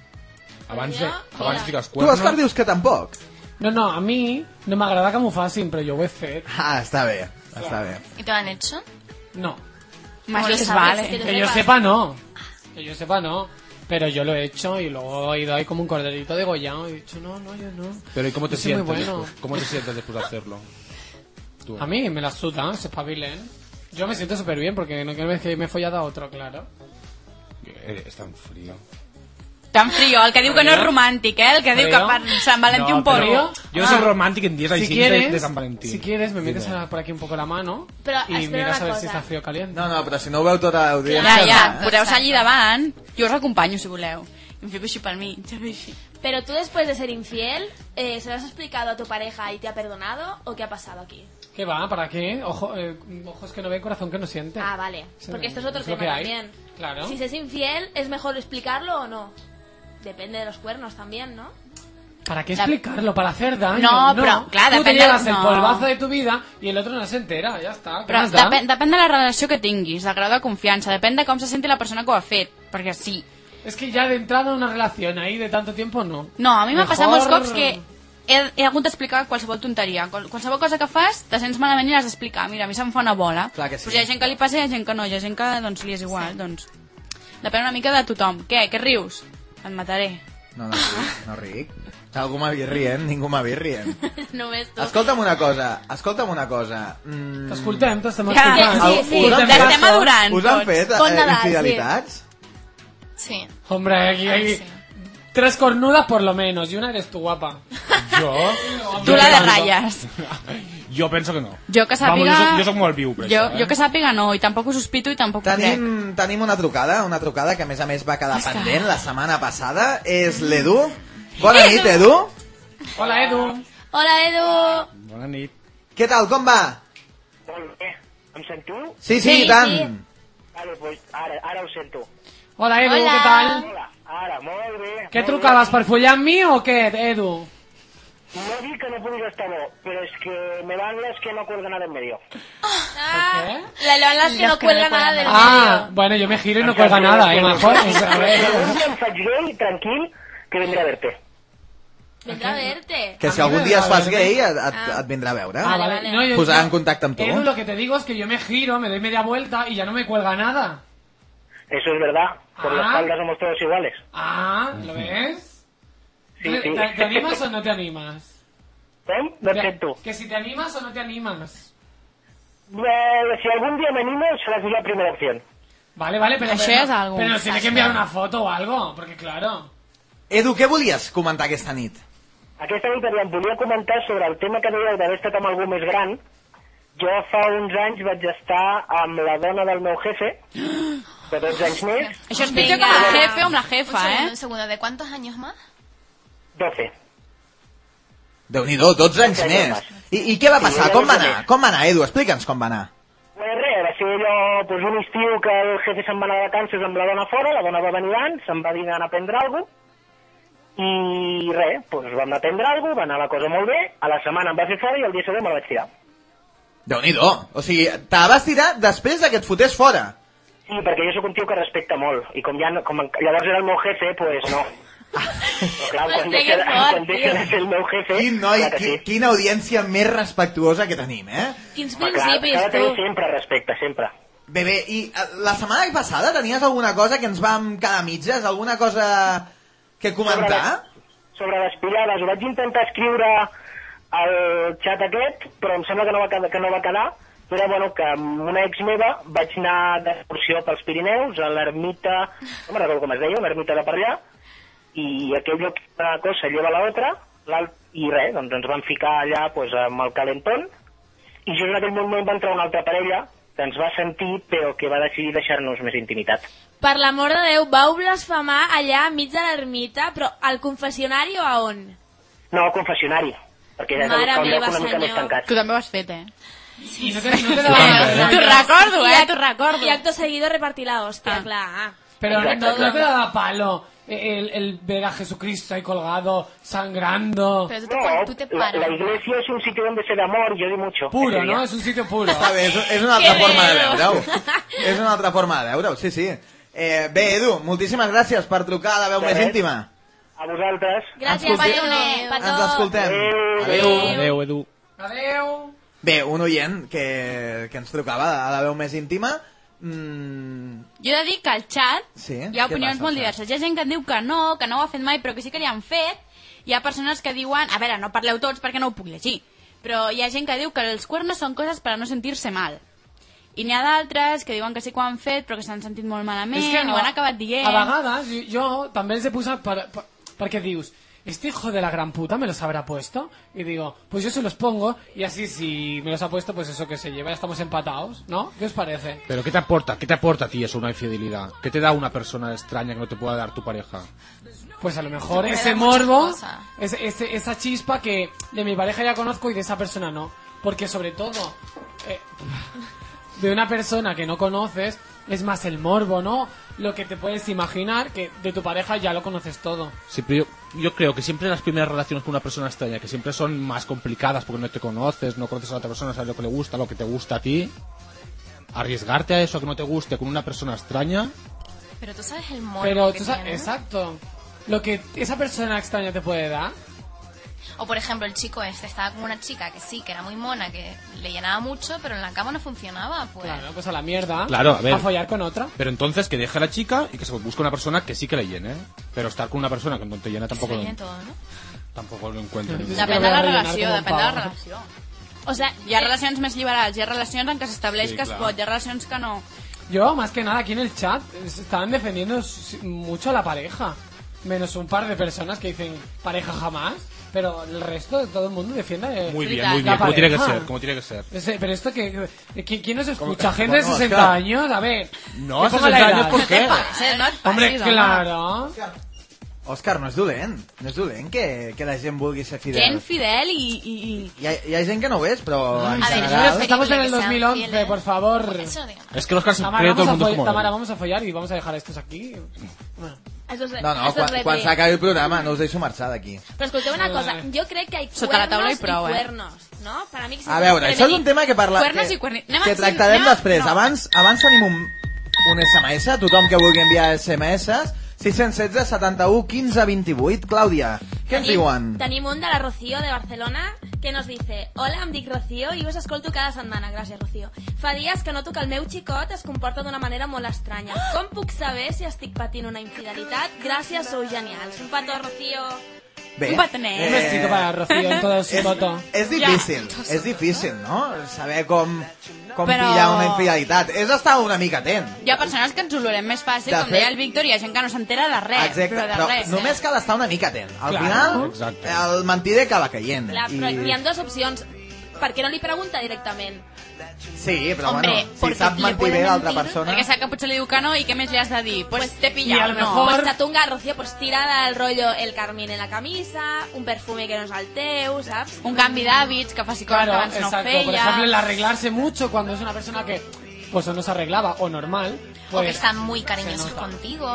Speaker 8: Abans, de,
Speaker 6: Jo, mira.
Speaker 8: abans de fiques
Speaker 3: Tu, Òscar,
Speaker 8: cuernos...
Speaker 3: dius que tampoc.
Speaker 7: No, no, a mi no m'agrada que m'ho facin, però jo ho he fet.
Speaker 3: Ah, està bé, està bé.
Speaker 5: ¿Y te lo han hecho?
Speaker 7: No.
Speaker 4: Más
Speaker 5: Bueno,
Speaker 4: les
Speaker 5: sabes
Speaker 4: vale.
Speaker 5: que-
Speaker 7: Que yo sepa, no. Que yo sepa, no. Pero yo lo he hecho y luego he ido ahí como un corderito degollado y he dicho, no, no, yo no.
Speaker 8: Pero ¿y cómo te
Speaker 7: Yo soy muy
Speaker 8: sientes?
Speaker 7: bueno.
Speaker 8: después? ¿Cómo te sientes después de hacerlo? Tú.
Speaker 7: A mí me la suda, se espabilen. Yo me siento súper bien porque no quiero ver que me he follado a otro, claro.
Speaker 8: eh, Es tan frío.
Speaker 4: Tan frío, el que diu que no és romàntic, eh? El que diu que
Speaker 7: Frío.
Speaker 4: per Sant Valentí un
Speaker 7: pero-
Speaker 4: pollo.
Speaker 8: Yo
Speaker 7: Ah.
Speaker 8: soy romántico en días
Speaker 7: si
Speaker 8: así de,
Speaker 7: quieres,
Speaker 8: de San Valentín.
Speaker 7: si quieres, me metes
Speaker 8: Digo,
Speaker 7: a- por aquí un poco la mano
Speaker 6: Pero,
Speaker 7: y
Speaker 6: espera
Speaker 7: miras
Speaker 6: una
Speaker 7: a ver si
Speaker 6: cosa.
Speaker 7: está frío o caliente.
Speaker 3: No, no, però si no ho veu tota l'audiència...
Speaker 4: Ja, ja,
Speaker 3: no.
Speaker 4: poseu-se allí davant. Jo us acompanyo, si voleu. I em fico així pel mig. saps, així.
Speaker 6: Pero tú después de ser infiel, eh, ¿se lo has explicado a tu pareja y te ha perdonado o qué ha pasado aquí?
Speaker 7: ¿Qué va? ¿Para qué? Ojo, eh, ojos que no ven, corazón que no siente.
Speaker 6: Ah, vale.
Speaker 7: Sí,
Speaker 6: Porque esto es otro
Speaker 7: es lo
Speaker 6: tema
Speaker 7: que hay,
Speaker 6: también.
Speaker 7: claro.
Speaker 6: Si se es infiel, ¿es mejor explicarlo o no? Depende de los cuernos también, ¿no? (laughs)
Speaker 7: ¿Para qué explicarlo? ¿Para hacer daño?
Speaker 4: No, pero, claro,
Speaker 7: Tú te
Speaker 4: depende-
Speaker 7: llevas el
Speaker 4: no.
Speaker 7: polvazo de tu vida y el otro no se entera, ya está. ¿Qué
Speaker 4: Però
Speaker 7: más da?
Speaker 4: depèn, depèn de la relació que tinguis, del grau de confiança, depèn de com se senti la persona que ho ha fet. Perquè sí.
Speaker 7: Es que ya de entrada una relación ahí de tanto tiempo no.
Speaker 4: No, a mi m'ha passat molts
Speaker 7: Mejor-
Speaker 4: cops que he, he hagut d'explicar qualsevol tonteria. Qual, qualsevol cosa que fas, te sents malament i l'has d'explicar. Mira, a mi se'm fa una bola.
Speaker 3: Clar que sí.
Speaker 4: Però hi ha gent que li passa i hi ha gent que no. Hi ha gent que doncs, li és igual. Doncs, depèn una mica de tothom. Què? Què rius? Et mataré.
Speaker 3: No, no ric, no ric. Algú m'ha vist rient, ningú m'ha vist rient.
Speaker 6: no ves tú.
Speaker 3: Escolta'm una cosa, escolta'm una cosa. Mm,
Speaker 7: T'escoltem, t'estem
Speaker 4: Ja,
Speaker 7: escoltant.
Speaker 4: sí, sí, este
Speaker 3: Us han fet-
Speaker 4: l'estem adorant.
Speaker 3: Us han fet
Speaker 6: Con
Speaker 3: eh,
Speaker 6: Nadal, sí.
Speaker 3: infidelitats?
Speaker 5: Sí.
Speaker 7: Hombre, aquí hay
Speaker 5: sí.
Speaker 7: tres cornudas por lo menos y una eres tú guapa.
Speaker 8: Yo...
Speaker 4: Tu la de
Speaker 8: yo-
Speaker 4: ratlles.
Speaker 8: Yo pienso que no.
Speaker 4: Jo que sàpiga...
Speaker 8: Vamos, yo soy- yo soy como el viu, per
Speaker 4: jo,
Speaker 8: això, eh?
Speaker 4: jo que sàpiga no, i tampoc ho sospito i tampoc ho crec.
Speaker 3: Tenim, tenim una trucada, una trucada que a més a més va quedar pendent la setmana passada. És l'Edu. Bona nit, Edu.
Speaker 7: Hola, Edu.
Speaker 6: Hola, Edu.
Speaker 8: Bona nit.
Speaker 3: Què tal, com va?
Speaker 9: Molt bé. Em sento?
Speaker 3: Sí, sí,
Speaker 6: Sí,
Speaker 3: i tant.
Speaker 6: sí.
Speaker 9: Vale, pues ara, ara ho sento.
Speaker 7: Hola, Edu,
Speaker 6: Hola.
Speaker 7: què tal?
Speaker 9: Hola, ara, molt bé.
Speaker 7: Què
Speaker 9: molt
Speaker 7: trucaves, per follar amb mi o què, Edu?
Speaker 9: Bé. No dic que no puguis estar bo, però és que me van les que no cuelgan nada en medio.
Speaker 6: Ah, la León las que no cuelga nada del
Speaker 7: ¿Eh? Ah,
Speaker 6: medio.
Speaker 7: bueno, yo me giro y no cuelga nada, eh, majo. O sea, a ver.
Speaker 9: Un dia em faig gay, tranquil, que vindré a verte.
Speaker 6: Vendrá a verte.
Speaker 3: Que si
Speaker 7: A mi
Speaker 3: algun
Speaker 9: Ah,
Speaker 7: m'agrada,
Speaker 3: dia es fas
Speaker 7: eh?
Speaker 3: gay et, et, et vindrà a veure.
Speaker 7: Ah, vale.
Speaker 6: vale.
Speaker 7: No, yo-
Speaker 3: Posarà en contacte amb tu.
Speaker 7: Edu, lo que te digo es que yo me giro, me doy media vuelta y ya no me cuelga nada.
Speaker 9: Eso es verdad. Por
Speaker 7: Ah.
Speaker 9: la espalda somos todos iguales.
Speaker 7: Ah, ¿lo ves?
Speaker 9: Sí,
Speaker 7: ¿Te,
Speaker 9: sí.
Speaker 7: te- te
Speaker 9: (laughs)
Speaker 7: animas o no te animas?
Speaker 9: ¿Eh? No
Speaker 7: Te-
Speaker 9: sento.
Speaker 7: Que si te animas o no te animas.
Speaker 9: Eh, si algun dia m'animo, seràs la primera opció.
Speaker 7: Vale, vale, pero...
Speaker 4: Això
Speaker 7: pero,
Speaker 4: ja és algo.
Speaker 7: Pero nos tiene que enviar una foto o algo, porque claro...
Speaker 3: Edu, què volies comentar aquesta nit?
Speaker 9: Aquesta nit aviam, volia comentar sobre el tema que dèieu d'haver estat amb algú més gran. Jo fa uns anys vaig estar amb la dona del meu jefe, de 12 anys més,
Speaker 4: Això es pitjor que amb el jefe o amb la
Speaker 5: un
Speaker 4: jefa,
Speaker 5: segundo,
Speaker 4: eh?
Speaker 5: un segundo. ¿De cuántos años más?
Speaker 9: 12.
Speaker 3: Déu-n'hi-do, 12 anys més. I, I què va passar? Com va anar? Com va anar, Edu? Explica'ns com va anar.
Speaker 9: Bueno, res, va ser allò, doncs un estiu que el jefe se'n va anar de vacances amb la dona fora, la dona va venir abans, se'n va dinar a prendre alguna cosa, i res, doncs vam anar a prendre alguna cosa, va anar la cosa molt bé, a la setmana em va fer fora i el dia següent me'l vaig tirar.
Speaker 3: Déu-n'hi-do. O sigui, te la vas tirar després de que et fotés fora.
Speaker 9: Sí, perquè jo sóc un tio que respecta molt, i com, ja, no- com en- llavors era el meu jefe, doncs pues no. Però clar, quan
Speaker 4: Hòstia,
Speaker 9: deixa,
Speaker 4: que
Speaker 9: de,
Speaker 4: fort,
Speaker 9: quan deixa de
Speaker 4: tio.
Speaker 9: ser el meu jefe,
Speaker 3: Quin noi,
Speaker 9: clar que
Speaker 3: qui,
Speaker 9: sí.
Speaker 3: quina audiència més respectuosa que tenim, eh?
Speaker 4: Quins
Speaker 9: Home, clar, s'ha
Speaker 4: principis,
Speaker 9: de tenir
Speaker 4: tu.
Speaker 9: sempre respecte, sempre.
Speaker 3: Bé, bé, i eh, la setmana passada tenies alguna cosa que ens vam quedar a mitges? Alguna cosa que comentar?
Speaker 9: Sobre les pillades, ho vaig intentar escriure al xat aquest, però em sembla que no va quedar, que no va quedar. Era, bueno, que amb una ex meva vaig anar d'excursió pels Pirineus, a l'ermita, no me'n recordo com es deia, una ermita de per allà, i aquell lloc una cosa lleva a l'altra, l'alt- i res, doncs ens vam ficar allà pues, amb el calentón, i jo en aquell moment va entrar una altra parella que ens va sentir, però que va decidir deixar-nos més intimitat.
Speaker 6: Per l'amor de Déu, vau blasfemar allà enmig de l'ermita, però al confessionari o a on?
Speaker 9: No, al confessionari, perquè era de
Speaker 6: Mare
Speaker 9: buscar un lloc
Speaker 6: meva,
Speaker 9: una mica més
Speaker 6: senyor.
Speaker 9: tancat.
Speaker 4: Tu també ho has fet, eh?
Speaker 7: Y no te, no te daba-
Speaker 4: T'ho recordo, eh? T'ho
Speaker 6: I
Speaker 4: recordo.
Speaker 6: acto seguido repartir la hòstia,
Speaker 4: Ah.
Speaker 6: clar.
Speaker 7: Pero no,
Speaker 9: Exacto,
Speaker 7: no- no te
Speaker 9: claro.
Speaker 7: daba palo el, el ver a Jesucristo ahí colgado, sangrando...
Speaker 5: Pero tú te,
Speaker 9: No,
Speaker 5: tú te
Speaker 9: la,
Speaker 5: paras.
Speaker 9: la iglesia es un sitio donde se da amor, yo di mucho.
Speaker 7: Puro,
Speaker 9: ese día.
Speaker 7: ¿no? Es un sitio
Speaker 9: (laughs)
Speaker 7: puro.
Speaker 3: Està bé, és, és una
Speaker 6: Que
Speaker 3: altra forma de
Speaker 6: veo.
Speaker 3: veure-ho. És una altra forma de veure-ho, sí, sí. Eh, bé, Edu, moltíssimes gràcies per trucar a la veu
Speaker 9: De
Speaker 3: més
Speaker 9: res.
Speaker 3: íntima.
Speaker 9: A vosaltres.
Speaker 6: Gràcies,
Speaker 3: Escolti-
Speaker 6: Patone.
Speaker 3: Ens l'escoltem.
Speaker 9: Adéu.
Speaker 8: Adeu, Edu.
Speaker 7: Adeu.
Speaker 3: Bé, un oient que, que ens trucava a la veu més íntima. Mm,
Speaker 4: Jo he de dir que al xat
Speaker 3: Sí?
Speaker 4: hi ha
Speaker 3: Què
Speaker 4: opinions
Speaker 3: passa, al
Speaker 4: molt
Speaker 3: xat?
Speaker 4: diverses. Hi ha gent que et diu que no, que no ho ha fet mai, però que sí que l'hi han fet. Hi ha persones que diuen... A veure, no parleu tots perquè no ho puc llegir. Però hi ha gent que diu que els cuernos són coses per a no sentir-se mal. I n'hi ha d'altres que diuen que sí que ho han fet, però que s'han sentit molt malament
Speaker 7: És
Speaker 4: que i ho
Speaker 7: a-
Speaker 4: han acabat dient.
Speaker 7: A vegades jo, jo també els he posat per, per, perquè dius, este hijo de la gran puta me los habrá puesto y digo, pues yo se los pongo y así si me los ha puesto pues eso que se lleva, ya estamos empatados, ¿no? ¿Qué os parece?
Speaker 8: Pero ¿qué te aporta? ¿Qué te aporta a ti eso, una infidelidad? ¿Qué te da una persona extraña que no te pueda dar tu pareja?
Speaker 7: Pues a lo mejor
Speaker 5: Me da
Speaker 7: ese
Speaker 5: muchas
Speaker 7: morbo,
Speaker 5: cosas.
Speaker 7: ese- ese- esa chispa que de mi pareja ya conozco y de esa persona no. Porque sobre todo, eh, de una persona que no conoces, es más el morbo, ¿no? Lo que te puedes imaginar, que de tu pareja ya lo conoces todo.
Speaker 8: Siempre yo, yo creo que siempre las primeras relaciones con una persona extraña, que siempre son más complicadas porque no te conoces, no conoces a la otra persona, sabes lo que le gusta, lo que te gusta a ti. Arriesgarte a eso, a que no te guste con una persona extraña,
Speaker 5: Pero tú sabes el morbo
Speaker 7: Pero
Speaker 5: que
Speaker 7: tú sabes,
Speaker 5: tiene.
Speaker 7: exacto. Lo que esa persona extraña te puede dar.
Speaker 5: Pues. O por ejemplo, el chico este estaba con una chica que sí, que era muy mona, que le llenaba mucho, pero en la cama no funcionaba, pues.
Speaker 7: Claro, pues a la mierda.
Speaker 8: Claro, a ver.
Speaker 7: follar con otra.
Speaker 8: Pero entonces que deje a la chica y que se busque una persona que sí que le llene. Pero estar con una persona que no te llena tampoco,
Speaker 5: Se veía todo, ¿no?
Speaker 8: tampoco lo encuentro.
Speaker 7: Sí, sí.
Speaker 4: Depèn
Speaker 7: Que
Speaker 4: de
Speaker 7: ho
Speaker 4: la
Speaker 7: han de
Speaker 4: relació,
Speaker 7: rellenar com
Speaker 4: depèn
Speaker 7: un
Speaker 4: de la
Speaker 7: pavo.
Speaker 4: relació. O sigui, hi
Speaker 7: eh,
Speaker 4: ha relacions més liberals, hi ha relacions en què s'estableix
Speaker 8: Sí,
Speaker 4: que es
Speaker 8: clar.
Speaker 4: pot, hi ha relacions que no.
Speaker 7: Yo, más que nada, aquí en el chat se estaban defendiendo s- mucho a la pareja. Menos un par de personas que dicen pareja jamás. Pero el resto de todo el mundo defiende. eh,
Speaker 8: Muy bien,
Speaker 4: Frita,
Speaker 8: muy
Speaker 4: la
Speaker 8: bien. Como tiene que
Speaker 7: pareja.
Speaker 8: ser, como tiene que ser.
Speaker 7: ese- pero esto que. que- que- ¿Quién nos escucha?
Speaker 8: Como-
Speaker 7: ¿Gente de
Speaker 3: Bueno,
Speaker 7: 60
Speaker 3: Oscar.
Speaker 7: años? A ver.
Speaker 8: No,
Speaker 7: que ponga la
Speaker 8: 60 años,
Speaker 7: edad.
Speaker 8: ¿por qué?
Speaker 4: Sí, eh, no et passis,
Speaker 7: Eh, Hombre,
Speaker 4: home.
Speaker 7: claro.
Speaker 3: Òscar, no és dolent. No és dolent que, que la gent vulgui ser fidel.
Speaker 4: Gent fidel i... i, i...
Speaker 3: Hi ha, hi ha gent que no ho és, però en
Speaker 5: A ver,
Speaker 3: general...
Speaker 5: yo no sé-
Speaker 7: Estamos en el
Speaker 5: que sean
Speaker 7: 2011,
Speaker 5: fieles.
Speaker 7: por favor.
Speaker 5: Eso, digamos.
Speaker 8: Es que los casos
Speaker 7: Tamara,
Speaker 8: todo el
Speaker 7: vamos a,
Speaker 8: mundo
Speaker 7: fo-
Speaker 8: como...
Speaker 7: Tamara, vamos a follar y vamos a dejar a estos aquí. Bueno.
Speaker 6: Això és,
Speaker 3: No, no,
Speaker 6: això és
Speaker 3: quan, quan
Speaker 6: repli.
Speaker 3: s'acabi el programa no us deixo marxar d'aquí.
Speaker 6: Però escolteu una cosa, jo crec que hi
Speaker 4: Sota la taula hi
Speaker 6: cuernos
Speaker 4: prou, eh?
Speaker 6: i cuernos, no? Per a mi que
Speaker 3: A veure, això és un tema que parla...
Speaker 4: Cuernos
Speaker 3: que,
Speaker 4: i cuerni- Anem a-
Speaker 3: que tractarem
Speaker 4: anem a-
Speaker 3: després.
Speaker 4: no.
Speaker 3: Abans, abans tenim un, un SMS, tothom que vulgui enviar SMS, 616 71 15 28. Clàudia, què ens diuen?
Speaker 6: Tenim un de la Rocío de Barcelona que nos dice Hola, em dic Rocío i us escolto cada setmana. Gràcies, Rocío. Fa dies que noto que el meu xicot es comporta d'una manera molt estranya. Com puc saber si estic patint una infidelitat? Gràcies, sou genials. Un petó, Rocío.
Speaker 3: Bé. Eh,
Speaker 4: Un petonet.
Speaker 7: Un besito para Rocío en todo su voto.
Speaker 3: És difícil, és difícil, no? Saber com, com
Speaker 4: Però-
Speaker 3: pillar una infidelitat. És estar una mica atent.
Speaker 4: Hi ha persones que ens olorem més fàcil,
Speaker 3: De
Speaker 4: com deia
Speaker 3: fet-
Speaker 4: el Víctor, i hi ha gent que no s'entera de res.
Speaker 3: Exacte,
Speaker 4: però de
Speaker 3: però
Speaker 4: res, eh?
Speaker 3: només cal estar una mica atent. Al
Speaker 7: Clar,
Speaker 3: final,
Speaker 8: exacte.
Speaker 3: el mentider acaba caient.
Speaker 6: Clar, però
Speaker 3: I-
Speaker 6: hi ha dues opcions. Per què no li pregunta directament?
Speaker 3: Sí, però
Speaker 4: Hombre,
Speaker 3: bueno, si
Speaker 4: porque
Speaker 3: sap
Speaker 4: le
Speaker 3: mentir
Speaker 4: puede
Speaker 3: bé l'altra
Speaker 4: mentir,
Speaker 3: persona...
Speaker 4: Perquè sap que potser li diu que no i què més li has de dir? Pues, pues t'he
Speaker 7: I a
Speaker 4: pillat,
Speaker 7: lo
Speaker 4: no.
Speaker 7: mejor-
Speaker 6: Pues t'atunga, Rocío, pues tira el rotllo el carmín en la camisa, un perfume que no és el teu, saps?
Speaker 4: Un canvi d'hàbits que faci coses
Speaker 7: Claro,
Speaker 4: que abans
Speaker 7: exacto.
Speaker 4: no feia.
Speaker 7: Por ejemplo, el arreglarse mucho cuando es una persona que pues o no se arreglaba o normal.
Speaker 5: O que
Speaker 7: Pues,
Speaker 5: están muy cariñosos
Speaker 7: nota.
Speaker 5: contigo,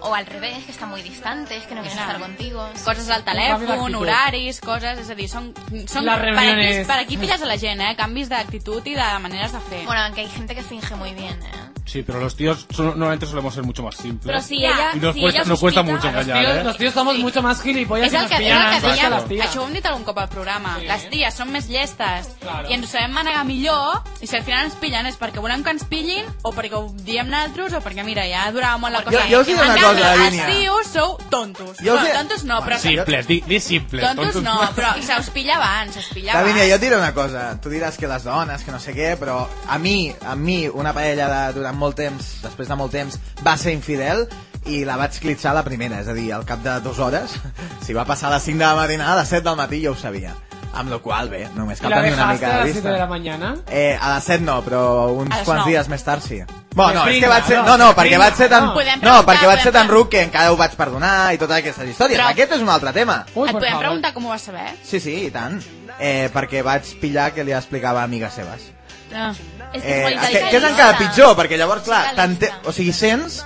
Speaker 5: o al revés, que están muy distantes, que no quieren
Speaker 4: Claro.
Speaker 5: estar contigo.
Speaker 4: coses al
Speaker 7: canvi d'actitud.
Speaker 4: telèfon, horaris, coses, és a dir, són, són per,
Speaker 7: Les
Speaker 4: aquí,
Speaker 7: reuniones.
Speaker 4: per aquí pilles a la gent, eh? Canvis d'actitud i de maneres de fer.
Speaker 5: Bueno, aunque hay gente que finge muy bien, ¿eh?
Speaker 8: Sí, pero los tíos son- normalmente solemos ser mucho más simples.
Speaker 6: Però si ella,
Speaker 8: Y nos
Speaker 6: si
Speaker 8: cuesta,
Speaker 6: ella
Speaker 8: nos cuesta
Speaker 6: sospita-
Speaker 8: mucho engañar,
Speaker 7: Tíos,
Speaker 8: ¿eh?
Speaker 7: los tíos somos mucho más gilipollas
Speaker 4: és
Speaker 7: y
Speaker 4: el
Speaker 7: nos
Speaker 4: que, és el que
Speaker 7: pillan antes que
Speaker 4: dèiem,
Speaker 7: las tías.
Speaker 4: això ho hem dit algun cop al programa,
Speaker 7: Sí.
Speaker 4: les ties són més llestes
Speaker 7: Claro.
Speaker 4: i ens ho sabem manegar millor i si al final ens pillen és perquè volem que ens pillin o perquè ho diem nosaltres o perquè mira, ja durava molt la cosa.
Speaker 3: Jo- jo us diré una
Speaker 4: en
Speaker 3: cosa,
Speaker 4: canvi,
Speaker 3: Lavínia.
Speaker 4: els tios sou tontos.
Speaker 3: Jo us
Speaker 4: Bueno,
Speaker 3: diré-
Speaker 4: tontos no, però...
Speaker 8: Simples, di, di simples.
Speaker 4: Tontos
Speaker 8: tontos.
Speaker 4: no, però se us pilla abans, se us pilla abans.
Speaker 3: Lavínia, jo et diré una cosa. Tu diràs que les dones, que no sé què, però a mi, a mi, una parella de, durant molt temps, després de molt temps, va ser infidel i la vaig clitxar a la primera, és a dir, al cap de dues hores, (laughs) si va passar a les 5 de la matinada, a les 7 del matí jo ho sabia. Amb la qual cosa, bé, només
Speaker 7: ¿Y
Speaker 3: cal
Speaker 7: la
Speaker 3: tenir una
Speaker 7: dejaste
Speaker 3: mica
Speaker 7: a
Speaker 3: de
Speaker 7: las 7 de la
Speaker 3: vista.
Speaker 7: mañana?
Speaker 3: Eh, a les 7 no, però uns
Speaker 4: A les
Speaker 3: quants
Speaker 4: nou.
Speaker 3: dies més tard sí. Bueno, no, és que
Speaker 7: pringa,
Speaker 3: vaig ser...
Speaker 7: no,
Speaker 3: No, no,
Speaker 7: pringa,
Speaker 3: perquè vaig ser tan...
Speaker 7: no.
Speaker 4: Podem
Speaker 3: No, perquè
Speaker 4: preguntar,
Speaker 3: vaig ser tan
Speaker 4: podem-
Speaker 3: ruc que encara ho vaig perdonar i totes aquestes històries.
Speaker 4: Però-
Speaker 3: Aquest és un altre tema.
Speaker 7: Uy,
Speaker 4: Et
Speaker 7: por
Speaker 4: podem
Speaker 7: favor.
Speaker 4: preguntar com ho vas saber?
Speaker 3: Sí, sí, i tant. Eh, perquè vaig pillar que li explicava a amigues seves.
Speaker 4: Ah.
Speaker 6: És que és
Speaker 3: Eh,
Speaker 6: molt
Speaker 3: que,
Speaker 6: intel·ligent.
Speaker 3: que és encara pitjor, perquè llavors, clar,
Speaker 5: Sí,
Speaker 3: tant,
Speaker 5: realista.
Speaker 3: o sigui, sents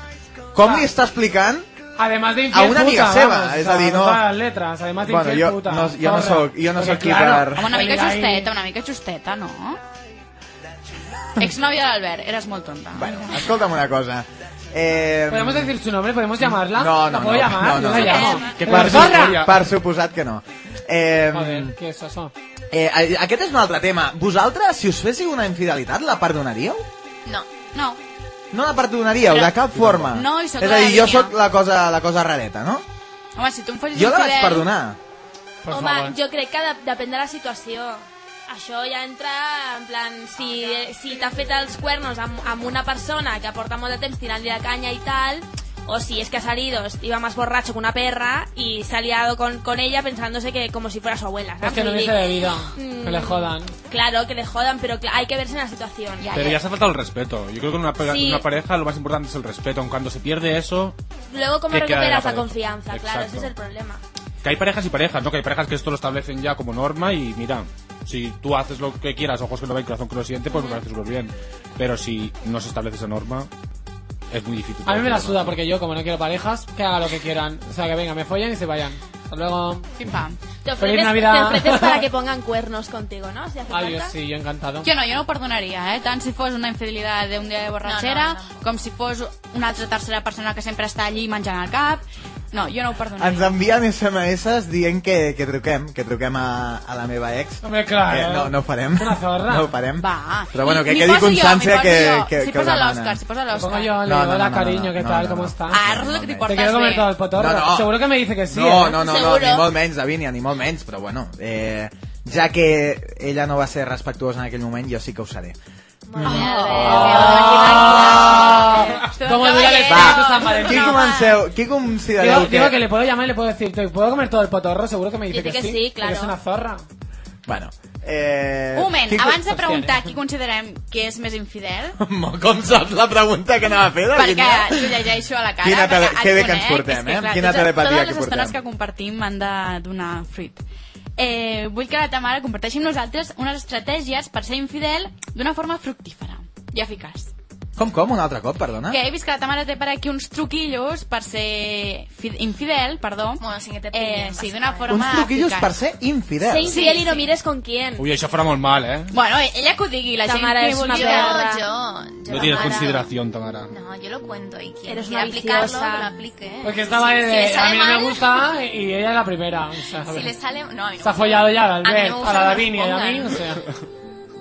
Speaker 3: com li està explicant...
Speaker 7: Además de infiel
Speaker 3: A una amiga
Speaker 7: puta,
Speaker 3: Seba,
Speaker 7: vamos,
Speaker 3: es
Speaker 7: o sea,
Speaker 3: decir, no-
Speaker 7: todas las letras, además de
Speaker 3: Bueno,
Speaker 7: infiel
Speaker 3: yo-
Speaker 7: puta.
Speaker 3: no- yo no
Speaker 7: zorra.
Speaker 3: soy- yo no
Speaker 7: Porque
Speaker 3: soy aquí
Speaker 7: claro,
Speaker 3: para-
Speaker 4: Home, una mica
Speaker 7: ahí-
Speaker 4: justeta, una mica justeta, no? Exnòvia de l'Albert, eres molt tonta.
Speaker 3: Bueno, escolta'm una cosa. Eh,
Speaker 7: ¿Podemos decir su nombre? ¿Podemos llamarla?
Speaker 3: No, no,
Speaker 7: ¿La puedo
Speaker 3: no,
Speaker 7: llamar?
Speaker 3: no, no,
Speaker 7: Yo la
Speaker 3: no.
Speaker 7: llamo.
Speaker 8: Que
Speaker 7: ¡La
Speaker 8: por
Speaker 7: zorra!
Speaker 8: favor,
Speaker 3: Per suposat que no. Eh,
Speaker 7: Joder, ¿qué es eso?
Speaker 3: eh, a- aquest és un altre tema. Vosaltres, si us féssiu una infidelitat, la perdonaríeu?
Speaker 5: No.
Speaker 4: No,
Speaker 3: No la perdonaríeu, de cap forma.
Speaker 4: No, i sóc
Speaker 3: és
Speaker 4: la
Speaker 3: a dir, jo
Speaker 4: Lavínia.
Speaker 3: sóc la cosa, la cosa rareta, no?
Speaker 4: home, si tu em facis
Speaker 3: Jo la vaig
Speaker 4: infidel-
Speaker 3: perdonar.
Speaker 7: Por
Speaker 6: Home,
Speaker 7: favor.
Speaker 6: jo crec que de, depèn de la situació. Això ja entra en plan,
Speaker 5: Ah,
Speaker 6: si, eh, si t'ha fet els cuernos amb, amb una persona que porta molt de temps tirant-li la canya i tal, o si es que ha salido, iba más borracho que una perra y se ha liado con, con ella pensándose que como si fuera su abuela.
Speaker 7: Es
Speaker 6: ¿sabes?
Speaker 7: que no
Speaker 6: Vull dir,
Speaker 7: hubiese debido.
Speaker 5: Mm.
Speaker 7: Que le jodan.
Speaker 6: Claro, que le jodan, pero cl- hay que verse en la situación.
Speaker 5: Ya,
Speaker 8: Pero
Speaker 5: ya.
Speaker 8: ya se falta el respeto. Yo creo que en una, pega-
Speaker 6: Sí.
Speaker 8: una pareja lo más importante es el respeto. Aunque cuando se pierde eso,
Speaker 6: Luego, ¿cómo
Speaker 8: Que queda de la
Speaker 6: recuperas la
Speaker 8: pareja.
Speaker 6: confianza? Claro, ese
Speaker 8: Exacto.
Speaker 6: es el problema.
Speaker 8: que hay parejas y parejas, ¿no? Que hay parejas que esto lo establecen ya como norma y mira, si tú haces lo que quieras, ojos que no ven, corazón que no siente, pues me parece súper bien. Pero si no se establece esa norma, es muy difícil.
Speaker 7: A mí me la suda porque yo, como no quiero parejas, que haga lo que quieran. O sea, que venga, me follan y se vayan. Hasta luego.
Speaker 4: Pim, pam.
Speaker 6: Te
Speaker 7: Feliz
Speaker 6: ofreces,
Speaker 7: Navidad.
Speaker 6: te ofreces para que (laughs) pongan cuernos contigo, ¿no? Si hace
Speaker 7: Ay, yo
Speaker 6: falta.
Speaker 7: sí, yo encantado.
Speaker 4: Jo no, jo no ho perdonaria, eh? Tant si fos una infidelitat d'un dia de borratxera,
Speaker 5: No, no, no,
Speaker 4: com si fos una altra tercera persona que sempre està allí menjant el cap. No, jo no ho
Speaker 3: Ens
Speaker 4: perdonaria.
Speaker 3: envien SMS dient que, que truquem, que truquem a, a la meva ex.
Speaker 7: Home, clar.
Speaker 3: Eh, no, no ho farem.
Speaker 7: Una zorra.
Speaker 3: No ho farem.
Speaker 4: Va.
Speaker 3: Però bueno, que
Speaker 4: M'hi
Speaker 3: quedi
Speaker 4: poso jo, m'hi
Speaker 3: constància
Speaker 4: poso
Speaker 3: que,
Speaker 4: jo.
Speaker 3: que,
Speaker 4: Si
Speaker 3: que ho
Speaker 4: posa
Speaker 3: demanen.
Speaker 4: l'Òscar, si posa
Speaker 7: Lo pongo
Speaker 4: l'Òscar.
Speaker 7: yo, le
Speaker 3: No,
Speaker 7: digo,
Speaker 3: no, no,
Speaker 7: hola,
Speaker 3: no,
Speaker 7: cariño,
Speaker 3: no,
Speaker 7: ¿qué
Speaker 3: no,
Speaker 7: tal?
Speaker 3: no,
Speaker 7: ¿Cómo
Speaker 3: no.
Speaker 7: estás?
Speaker 4: Ah, és el que t'hi
Speaker 7: Te
Speaker 4: portes
Speaker 7: quiero comer
Speaker 4: bé.
Speaker 7: todo el potorro.
Speaker 3: No, no.
Speaker 7: Seguro que me dice que sí.
Speaker 3: No,
Speaker 7: ¿eh?
Speaker 3: no, no, no,
Speaker 6: Seguro.
Speaker 3: ni molt menys, Davinia, ni molt menys, però bueno, eh, ja que ella no va ser respectuosa en aquell moment, jo sí que ho seré.
Speaker 4: Eh,
Speaker 3: Oh.
Speaker 5: Muy bien,
Speaker 7: Ah,
Speaker 4: Todo
Speaker 7: ¿Cómo dura el
Speaker 4: caballero.
Speaker 7: espíritu
Speaker 4: Pero
Speaker 7: San
Speaker 3: Qui
Speaker 7: Valentín?
Speaker 4: no,
Speaker 3: comenceu? Qui
Speaker 7: Digo,
Speaker 3: considereu
Speaker 7: digo que
Speaker 3: que...
Speaker 7: le puedo llamar y le puedo decir, ¿te puedo comer todo el potorro? Seguro que me dice
Speaker 6: Dice que sí,
Speaker 7: porque
Speaker 6: claro.
Speaker 7: es una zorra.
Speaker 3: Bueno, eh...
Speaker 4: Un moment,
Speaker 3: qui co- (laughs)
Speaker 4: abans de
Speaker 7: Hòstia,
Speaker 4: preguntar
Speaker 7: eh?
Speaker 4: qui considerem que és més infidel,
Speaker 3: Com saps la pregunta que anava a fer,
Speaker 4: perquè
Speaker 3: Davinia?
Speaker 4: jo llegeixo a la cara.
Speaker 3: Quina tele-
Speaker 4: perquè et
Speaker 3: que bé que ens
Speaker 4: conec,
Speaker 3: portem,
Speaker 4: és que,
Speaker 3: eh?
Speaker 4: clar,
Speaker 3: Quina
Speaker 4: totes-
Speaker 3: telepatia
Speaker 4: totes
Speaker 3: que
Speaker 4: les estones
Speaker 3: portem.
Speaker 4: que compartim han de donar fruit. Eh, vull que la Tamara comparteixi amb nosaltres unes estratègies per ser infidel d'una forma fructífera i eficaç.
Speaker 3: Com, com? Un altre cop, perdona?
Speaker 4: Que he vist que la Tamara té per aquí uns truquillos per ser fi- infidel, perdó.
Speaker 5: Bueno, sin que te
Speaker 4: Eh,
Speaker 5: pillen,
Speaker 4: sí, d'una forma
Speaker 3: Uns truquillos
Speaker 4: eficaç.
Speaker 3: per ser infidel.
Speaker 6: Sé infiel
Speaker 4: Sí,
Speaker 6: y no
Speaker 4: sí.
Speaker 6: mires con quién.
Speaker 8: Uy, eso fuera muy mal, ¿eh?
Speaker 4: Bueno, ella que ho digui, la
Speaker 6: Tamara
Speaker 4: gent
Speaker 6: és
Speaker 4: que
Speaker 6: una
Speaker 4: vulgui
Speaker 6: perra.
Speaker 4: veure.
Speaker 5: Yo, yo, yo
Speaker 8: No tienes
Speaker 5: Tamara-
Speaker 8: consideración, Tamara.
Speaker 5: No, yo lo cuento y quien
Speaker 6: Eres
Speaker 5: quiera
Speaker 6: una
Speaker 5: aplicarlo, que
Speaker 6: viciosa.
Speaker 5: lo aplique.
Speaker 7: Porque estaba
Speaker 5: Eh, Si
Speaker 7: de,
Speaker 5: le
Speaker 7: a
Speaker 5: sale
Speaker 7: mí no me
Speaker 5: mal-
Speaker 7: gusta y ella es la primera. o sea,
Speaker 5: Si le sale... No, a mí no
Speaker 7: Se ha
Speaker 5: me gusta.
Speaker 7: follado ya al
Speaker 5: mí no me
Speaker 7: Albert, a
Speaker 5: gusta
Speaker 7: la
Speaker 5: que
Speaker 7: Davinia y a
Speaker 5: pongan.
Speaker 7: mí, o sea.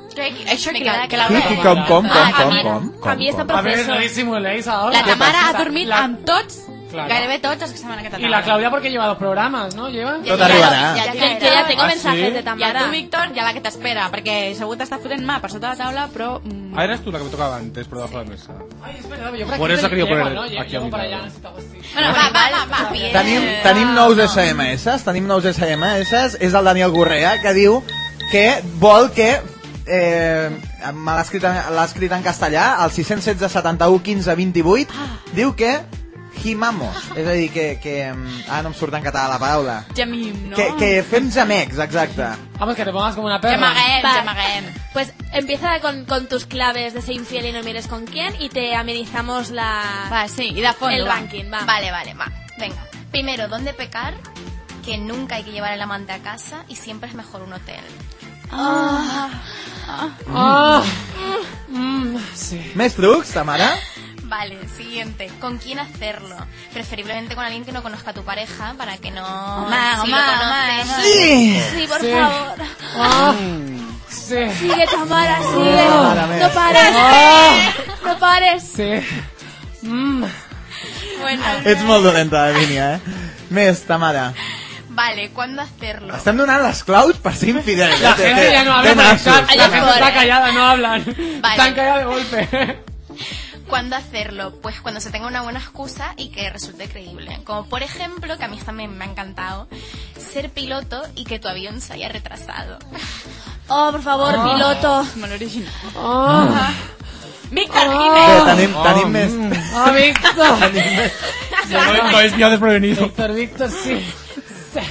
Speaker 4: Crec, això
Speaker 5: Me
Speaker 4: que,
Speaker 5: queda
Speaker 4: la- que la
Speaker 5: clar.
Speaker 3: Qui,
Speaker 4: veu.
Speaker 3: qui, com, com, com,
Speaker 5: Ah,
Speaker 3: com,
Speaker 5: a mi-
Speaker 3: com, com,
Speaker 6: a mi està
Speaker 3: com.
Speaker 7: A ver,
Speaker 6: Professor.
Speaker 7: no disimuléis ahora.
Speaker 4: La Tamara ha
Speaker 7: O sea,
Speaker 4: dormit
Speaker 7: la-
Speaker 4: amb tots
Speaker 7: Claro.
Speaker 4: Gairebé tots els que s'han anat a
Speaker 7: Y la Claudia porque lleva dos programas, ¿no? Lleva.
Speaker 3: Tot arribarà.
Speaker 4: Ja,
Speaker 6: Que, que ja tengo
Speaker 7: Ah,
Speaker 6: mensajes
Speaker 7: sí?
Speaker 6: de
Speaker 4: I a
Speaker 6: Tamara.
Speaker 4: tu, Víctor, ja la que t'espera, perquè segur que t'està fotent mà per sota la taula, però... mm,
Speaker 8: Ah, eras tú la que me tocaba antes por debajo de la mesa.
Speaker 7: Ay, es verdad, yo por
Speaker 8: Por
Speaker 7: aquí
Speaker 8: eso
Speaker 7: te-
Speaker 8: quería
Speaker 7: llego,
Speaker 8: poner
Speaker 7: ¿no? Lle-
Speaker 8: aquí a
Speaker 7: llego
Speaker 8: mi
Speaker 7: para
Speaker 8: lado.
Speaker 7: allá, necesitaba así.
Speaker 4: Bueno, va, va, va, va.
Speaker 3: Tenim, tenim nous SMS, tenim nous SMS, és el Daniel Gorrea, que diu que vol que... Eh, me l'ha escrit, en- l'ha escrit en castellà, al 616 71 15 28,
Speaker 4: Ah.
Speaker 3: diu que himamos, és a dir, que... que mm, ah, no em surt en català la paraula.
Speaker 4: Gemim, no?
Speaker 3: Que, que fem gemecs, exacte.
Speaker 7: Vamos, que te pongas como una perra.
Speaker 4: Gemaguem,
Speaker 6: Va.
Speaker 4: gemaguem.
Speaker 6: Pues empieza con, con tus claves de ser infiel y no mires con quién y te amenizamos la...
Speaker 4: Va, sí, i de fons,
Speaker 6: El
Speaker 4: va.
Speaker 6: banking, va.
Speaker 5: Vale, vale, va. Venga. Primero, ¿dónde pecar? Que nunca hay que llevar el amante a casa y siempre es mejor un hotel.
Speaker 7: Ah. Mm, sí.
Speaker 3: Més trucs, ta mare?
Speaker 5: Vale, siguiente. ¿Con quién hacerlo? Preferiblemente con alguien que no conozca a tu pareja para que no...
Speaker 4: Mamá,
Speaker 5: si
Speaker 4: mamá,
Speaker 5: lo conoces,
Speaker 4: mamá.
Speaker 3: Sí!
Speaker 6: Sí, por
Speaker 7: Sí.
Speaker 6: favor.
Speaker 7: Ah. Sí.
Speaker 6: Sigue, (laughs) Tamara, sigue.
Speaker 3: Tamara, mira.
Speaker 6: No pares.
Speaker 7: Ah.
Speaker 6: No pares.
Speaker 7: Sí. Mm.
Speaker 5: Bueno,
Speaker 3: Ets molt dolenta, Vínia, eh? Més, ta mare.
Speaker 5: vale, ¿cuándo hacerlo?
Speaker 3: Estem donant les claus per ser eh? infidel.
Speaker 7: La gente ya no habla por el chat. La gente
Speaker 5: Pobre.
Speaker 7: está callada, no hablan. Están calladas de golpe. (laughs)
Speaker 5: ¿Cuándo hacerlo? Pues cuando se tenga una buena excusa y que resulte creíble. Como por ejemplo, que a mí también me ha encantado, ser piloto y que tu avión se haya retrasado.
Speaker 6: Oh, por favor, piloto.
Speaker 4: Molt original.
Speaker 7: Ah.
Speaker 4: Víctor Jiménez.
Speaker 3: Però tenim, tenim més...
Speaker 7: Ah, Víctor.
Speaker 8: No me habéis pillado desprevenido.
Speaker 7: Víctor, Víctor, sí. Sí.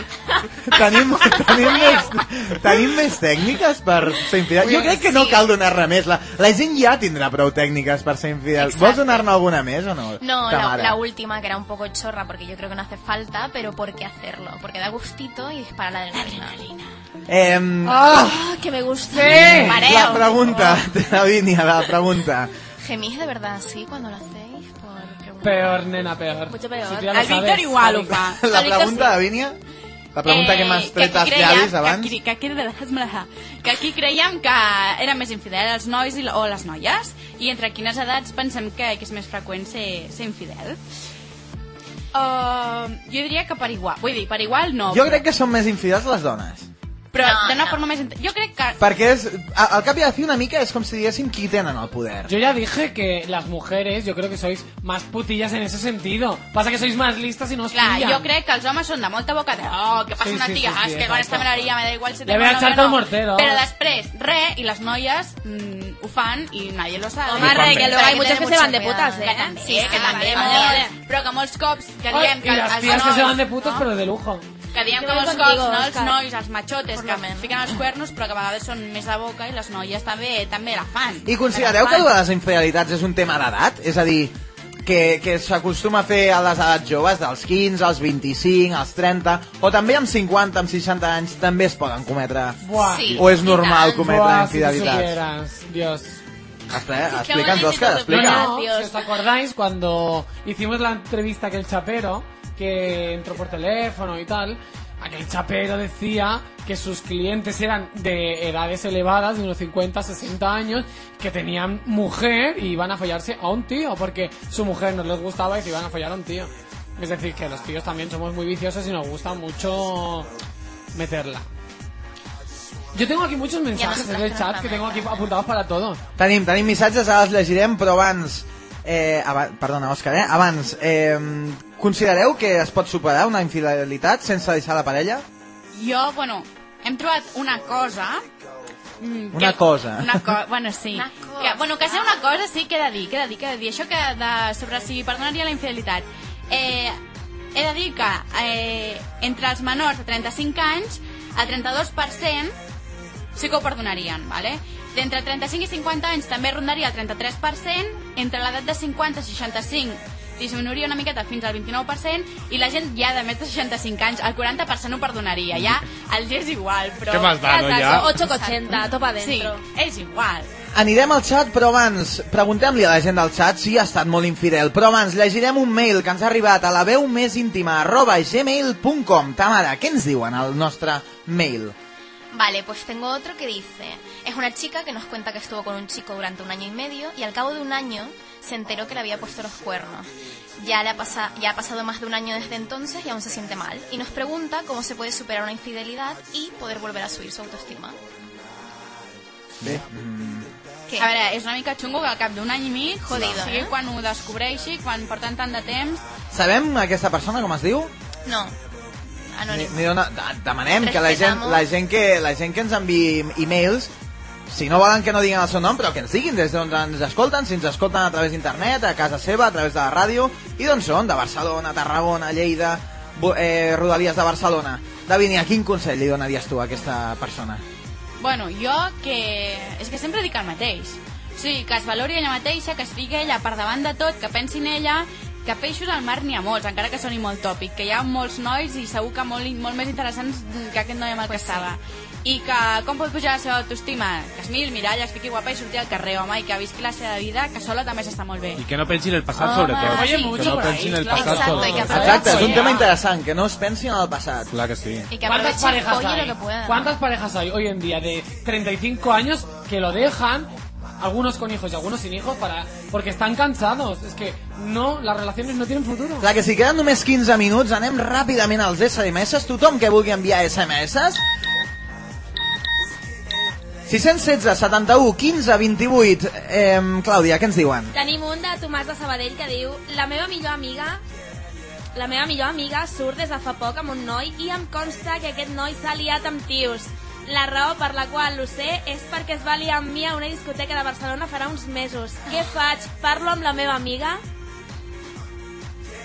Speaker 3: tenim, tenim, més, tenim més tècniques per ser infidel. Jo crec que no
Speaker 5: Sí.
Speaker 3: cal donar-ne més. La, la gent ja tindrà prou tècniques per ser infidel.
Speaker 5: Exacte.
Speaker 3: Vols donar-ne alguna més o no?
Speaker 5: No,
Speaker 3: ta
Speaker 5: la,
Speaker 3: mare?
Speaker 5: la última, que era un poco chorra, porque yo creo que no hace falta, pero ¿por qué hacerlo? Porque da gustito y dispara la adrenalina.
Speaker 3: Em,
Speaker 7: Ah.
Speaker 6: Ah, que me gusta.
Speaker 7: Sí.
Speaker 3: la
Speaker 5: Mareo.
Speaker 3: pregunta, té la Vínia, la pregunta.
Speaker 5: ¿Gemís de verdad así cuando lo hacéis? Por preguntar.
Speaker 7: Peor, nena, peor.
Speaker 6: Mucho peor.
Speaker 7: Si tú ya lo
Speaker 4: El Víctor
Speaker 7: sabes.
Speaker 4: igual ho fa.
Speaker 3: (laughs) La
Speaker 6: Marica,
Speaker 3: pregunta de Vínia? La pregunta
Speaker 4: Eh,
Speaker 3: que
Speaker 5: eh,
Speaker 3: m'has tret als llavis abans?
Speaker 4: Que aquí, que, aquí, dejas-me-la. que aquí creiem que era més infidel els nois i, o les noies i entre quines edats pensem que, que és més freqüent ser, ser infidel. Uh, jo diria que per igual. Vull dir, per igual no.
Speaker 3: Jo crec que són més infidels les dones.
Speaker 4: Però
Speaker 5: No,
Speaker 4: d'una
Speaker 5: no.
Speaker 4: forma més... int- Jo crec que...
Speaker 3: Perquè és, a- al cap i a la fi una mica és com si diguéssim qui tenen el poder.
Speaker 7: Yo ya dije que las mujeres, yo creo que sois más putillas en ese sentido. Pasa que sois más listas y no os
Speaker 4: Clar,
Speaker 7: pillan.
Speaker 4: jo crec que els homes són de molta boca de oh, que passa
Speaker 7: Sí,
Speaker 4: una
Speaker 7: sí,
Speaker 4: tia,
Speaker 7: sí,
Speaker 4: ah,
Speaker 7: sí,
Speaker 4: és que con esta
Speaker 7: exacte.
Speaker 4: me la haría, me da igual si
Speaker 7: Le
Speaker 4: tengo
Speaker 7: voy a
Speaker 4: novio o
Speaker 7: echar todo el
Speaker 4: no.
Speaker 7: mortero.
Speaker 4: Però després, re, i les noies mm, ho fan i nadie lo sabe.
Speaker 6: Omar,
Speaker 8: Juanpe.
Speaker 6: que luego
Speaker 5: Pero hay
Speaker 6: hay
Speaker 5: que
Speaker 6: muchas que
Speaker 5: tener
Speaker 6: se van de
Speaker 5: mucho
Speaker 6: putas,
Speaker 5: cuidado.
Speaker 6: ¿eh?
Speaker 4: Que també,
Speaker 5: Sí,
Speaker 4: que
Speaker 5: ah,
Speaker 4: també,
Speaker 5: vale,
Speaker 4: molt.
Speaker 5: vale.
Speaker 4: Però que molts cops que
Speaker 7: Ay,
Speaker 4: diem
Speaker 7: y
Speaker 4: que
Speaker 7: las
Speaker 4: els
Speaker 7: tías que se van de
Speaker 4: nois...
Speaker 7: putos, pero de lujo.
Speaker 4: Que diem que
Speaker 6: Jo
Speaker 4: molts
Speaker 6: contigo,
Speaker 4: cops, no, els
Speaker 6: Òscar.
Speaker 4: nois, els machotes, que
Speaker 5: Formalment.
Speaker 4: fiquen els cuernos, però que a vegades són més de boca i les noies també també la fan.
Speaker 3: I considereu que el de les infidelitats és un tema d'edat? És a dir, que, que s'acostuma a fer a les edats joves, dels 15, als 25, als 30, o també amb 50, amb 60 anys, també es poden cometre...
Speaker 7: Buah.
Speaker 5: Sí.
Speaker 3: O és normal
Speaker 5: Buah,
Speaker 3: cometre
Speaker 7: Buah, si
Speaker 3: infidelitats?
Speaker 7: supieras, Dios.
Speaker 3: Espera,
Speaker 6: Sí,
Speaker 3: explica'ns,
Speaker 6: que
Speaker 3: Òscar,
Speaker 6: m'han dit
Speaker 3: explica.
Speaker 6: tot,
Speaker 7: No,
Speaker 6: Dios.
Speaker 7: si os acordáis cuando hicimos la entrevista a aquel chapero que entró por teléfono y tal, aquel chapero decía que sus clientes eran de edades elevadas, de unos 50, 60 años, que tenían mujer y iban a follarse a un tío porque su mujer no les gustaba y se iban a follar a un tío. Es decir, que los tíos también somos muy viciosos y nos gusta mucho meterla. Yo tengo aquí muchos mensajes en el
Speaker 5: nosotras
Speaker 7: chat que tengo aquí apuntados para todos.
Speaker 3: Tenim, tenim missatges, ara els llegirem, però abans... Eh, aba perdona, Òscar, eh? Abans, eh, considereu que es pot superar una infidelitat sense deixar la parella?
Speaker 4: Jo, bueno, hem trobat una cosa... mm,
Speaker 3: Una cosa.
Speaker 4: Una co bueno, sí.
Speaker 5: Una cosa.
Speaker 4: Que, bueno, que ser una cosa sí que he de dir, que he de dir, que he de dir. Això que de, sobre si perdonaria la infidelitat. Eh, he de dir que eh, entre els menors de 35 anys, el 32% sí que ho perdonarien, ¿vale? D'entre 35 i 50 anys també rondaria el 33%, entre l'edat de 50 a 65 disminuiria una miqueta fins al 29% i la gent ja de més de 65 anys el 40% ho perdonaria, ja els és igual, però...
Speaker 8: Què más da,
Speaker 4: ja
Speaker 8: no,
Speaker 4: saps,
Speaker 8: ja?
Speaker 6: 8,80, topa
Speaker 4: Sí,
Speaker 6: dentro.
Speaker 4: és igual.
Speaker 3: Anirem al xat, però abans preguntem-li a la gent del xat si ha estat molt infidel. Però abans llegirem un mail que ens ha arribat a la veu més íntima arroba gmail.com. Tamara, què ens diuen al nostre mail?
Speaker 5: Vale, pues tengo otro que dice, es una chica que nos cuenta que estuvo con un chico durante un año y medio y al cabo de un año se enteró que le había puesto los cuernos. Ya, le ha pasa- ya ha pasado más de un año desde entonces y aún se siente mal. Y nos pregunta cómo se puede superar una infidelidad y poder volver a subir su autoestima. ¿Qué?
Speaker 4: A veure, és una mica xungo que al cap d'un any i mig,
Speaker 5: Jodido,
Speaker 4: o sigui,
Speaker 5: eh?
Speaker 4: quan ho descobreixi, quan porten tant de temps,
Speaker 3: Sabem aquesta persona com es diu?
Speaker 5: No.
Speaker 3: Ni,
Speaker 5: Anónimo.
Speaker 3: ni dona, de- demanem que la gent,
Speaker 5: Respetamos.
Speaker 3: la, gent que, la gent que ens enviï e-mails si no volen que no diguin el seu nom, però que ens diguin des d'on ens escolten, si ens escolten a través d'internet, a casa seva, a través de la ràdio, i d'on són, de Barcelona, Tarragona, Lleida, Bo- eh, Rodalies de Barcelona. Davinia, quin consell li donaries tu a aquesta persona?
Speaker 4: bueno, jo que... És que sempre dic el mateix. O sigui, que es valori ella mateixa, que estigui ella per davant de tot, que pensi en ella, que peixos al mar n'hi ha molts, encara que soni molt tòpic, que hi ha molts nois i segur que molt, molt més interessants que aquest noi amb el que estava. I que com pot pujar la seva autoestima? Que es miri el mirall, es fiqui guapa i surti al carrer, home, i que visqui la seva vida, que sola també s'està molt bé.
Speaker 10: Y que no pensi en el pasado sobre
Speaker 4: Home,
Speaker 10: todo.
Speaker 4: oye,
Speaker 10: que
Speaker 4: mucho
Speaker 10: Ah, no
Speaker 4: por ahí,
Speaker 10: pensi en el
Speaker 4: claro.
Speaker 10: pasado
Speaker 5: Exacto,
Speaker 10: sobre
Speaker 5: y que
Speaker 10: todo.
Speaker 3: Exacte, és un
Speaker 5: Sí.
Speaker 3: tema interessant, que no es pensin en el passat.
Speaker 8: Claro que sí.
Speaker 5: Y que
Speaker 7: ¿Cuántas
Speaker 5: aproveche
Speaker 7: parejas
Speaker 5: oye
Speaker 7: hay?
Speaker 5: lo que pueda.
Speaker 7: ¿Cuántas parejas hay hoy en día de 35 años que lo dejan, algunos con hijos y algunos sin hijos, para porque están cansados? Es que no, las relaciones no tienen futuro.
Speaker 3: Clar que si queden només 15 minuts, anem ràpidament als SMS. Tothom que vulgui enviar SMS... 616 71 15 28 eh, Clàudia, què ens diuen?
Speaker 6: Tenim un de Tomàs de Sabadell que diu La meva millor amiga la meva millor amiga surt des de fa poc amb un noi i em consta que aquest noi s'ha liat amb tios. La raó per la qual ho sé és perquè es va liar amb mi a una discoteca de Barcelona farà uns mesos. Què faig? Parlo amb la meva amiga?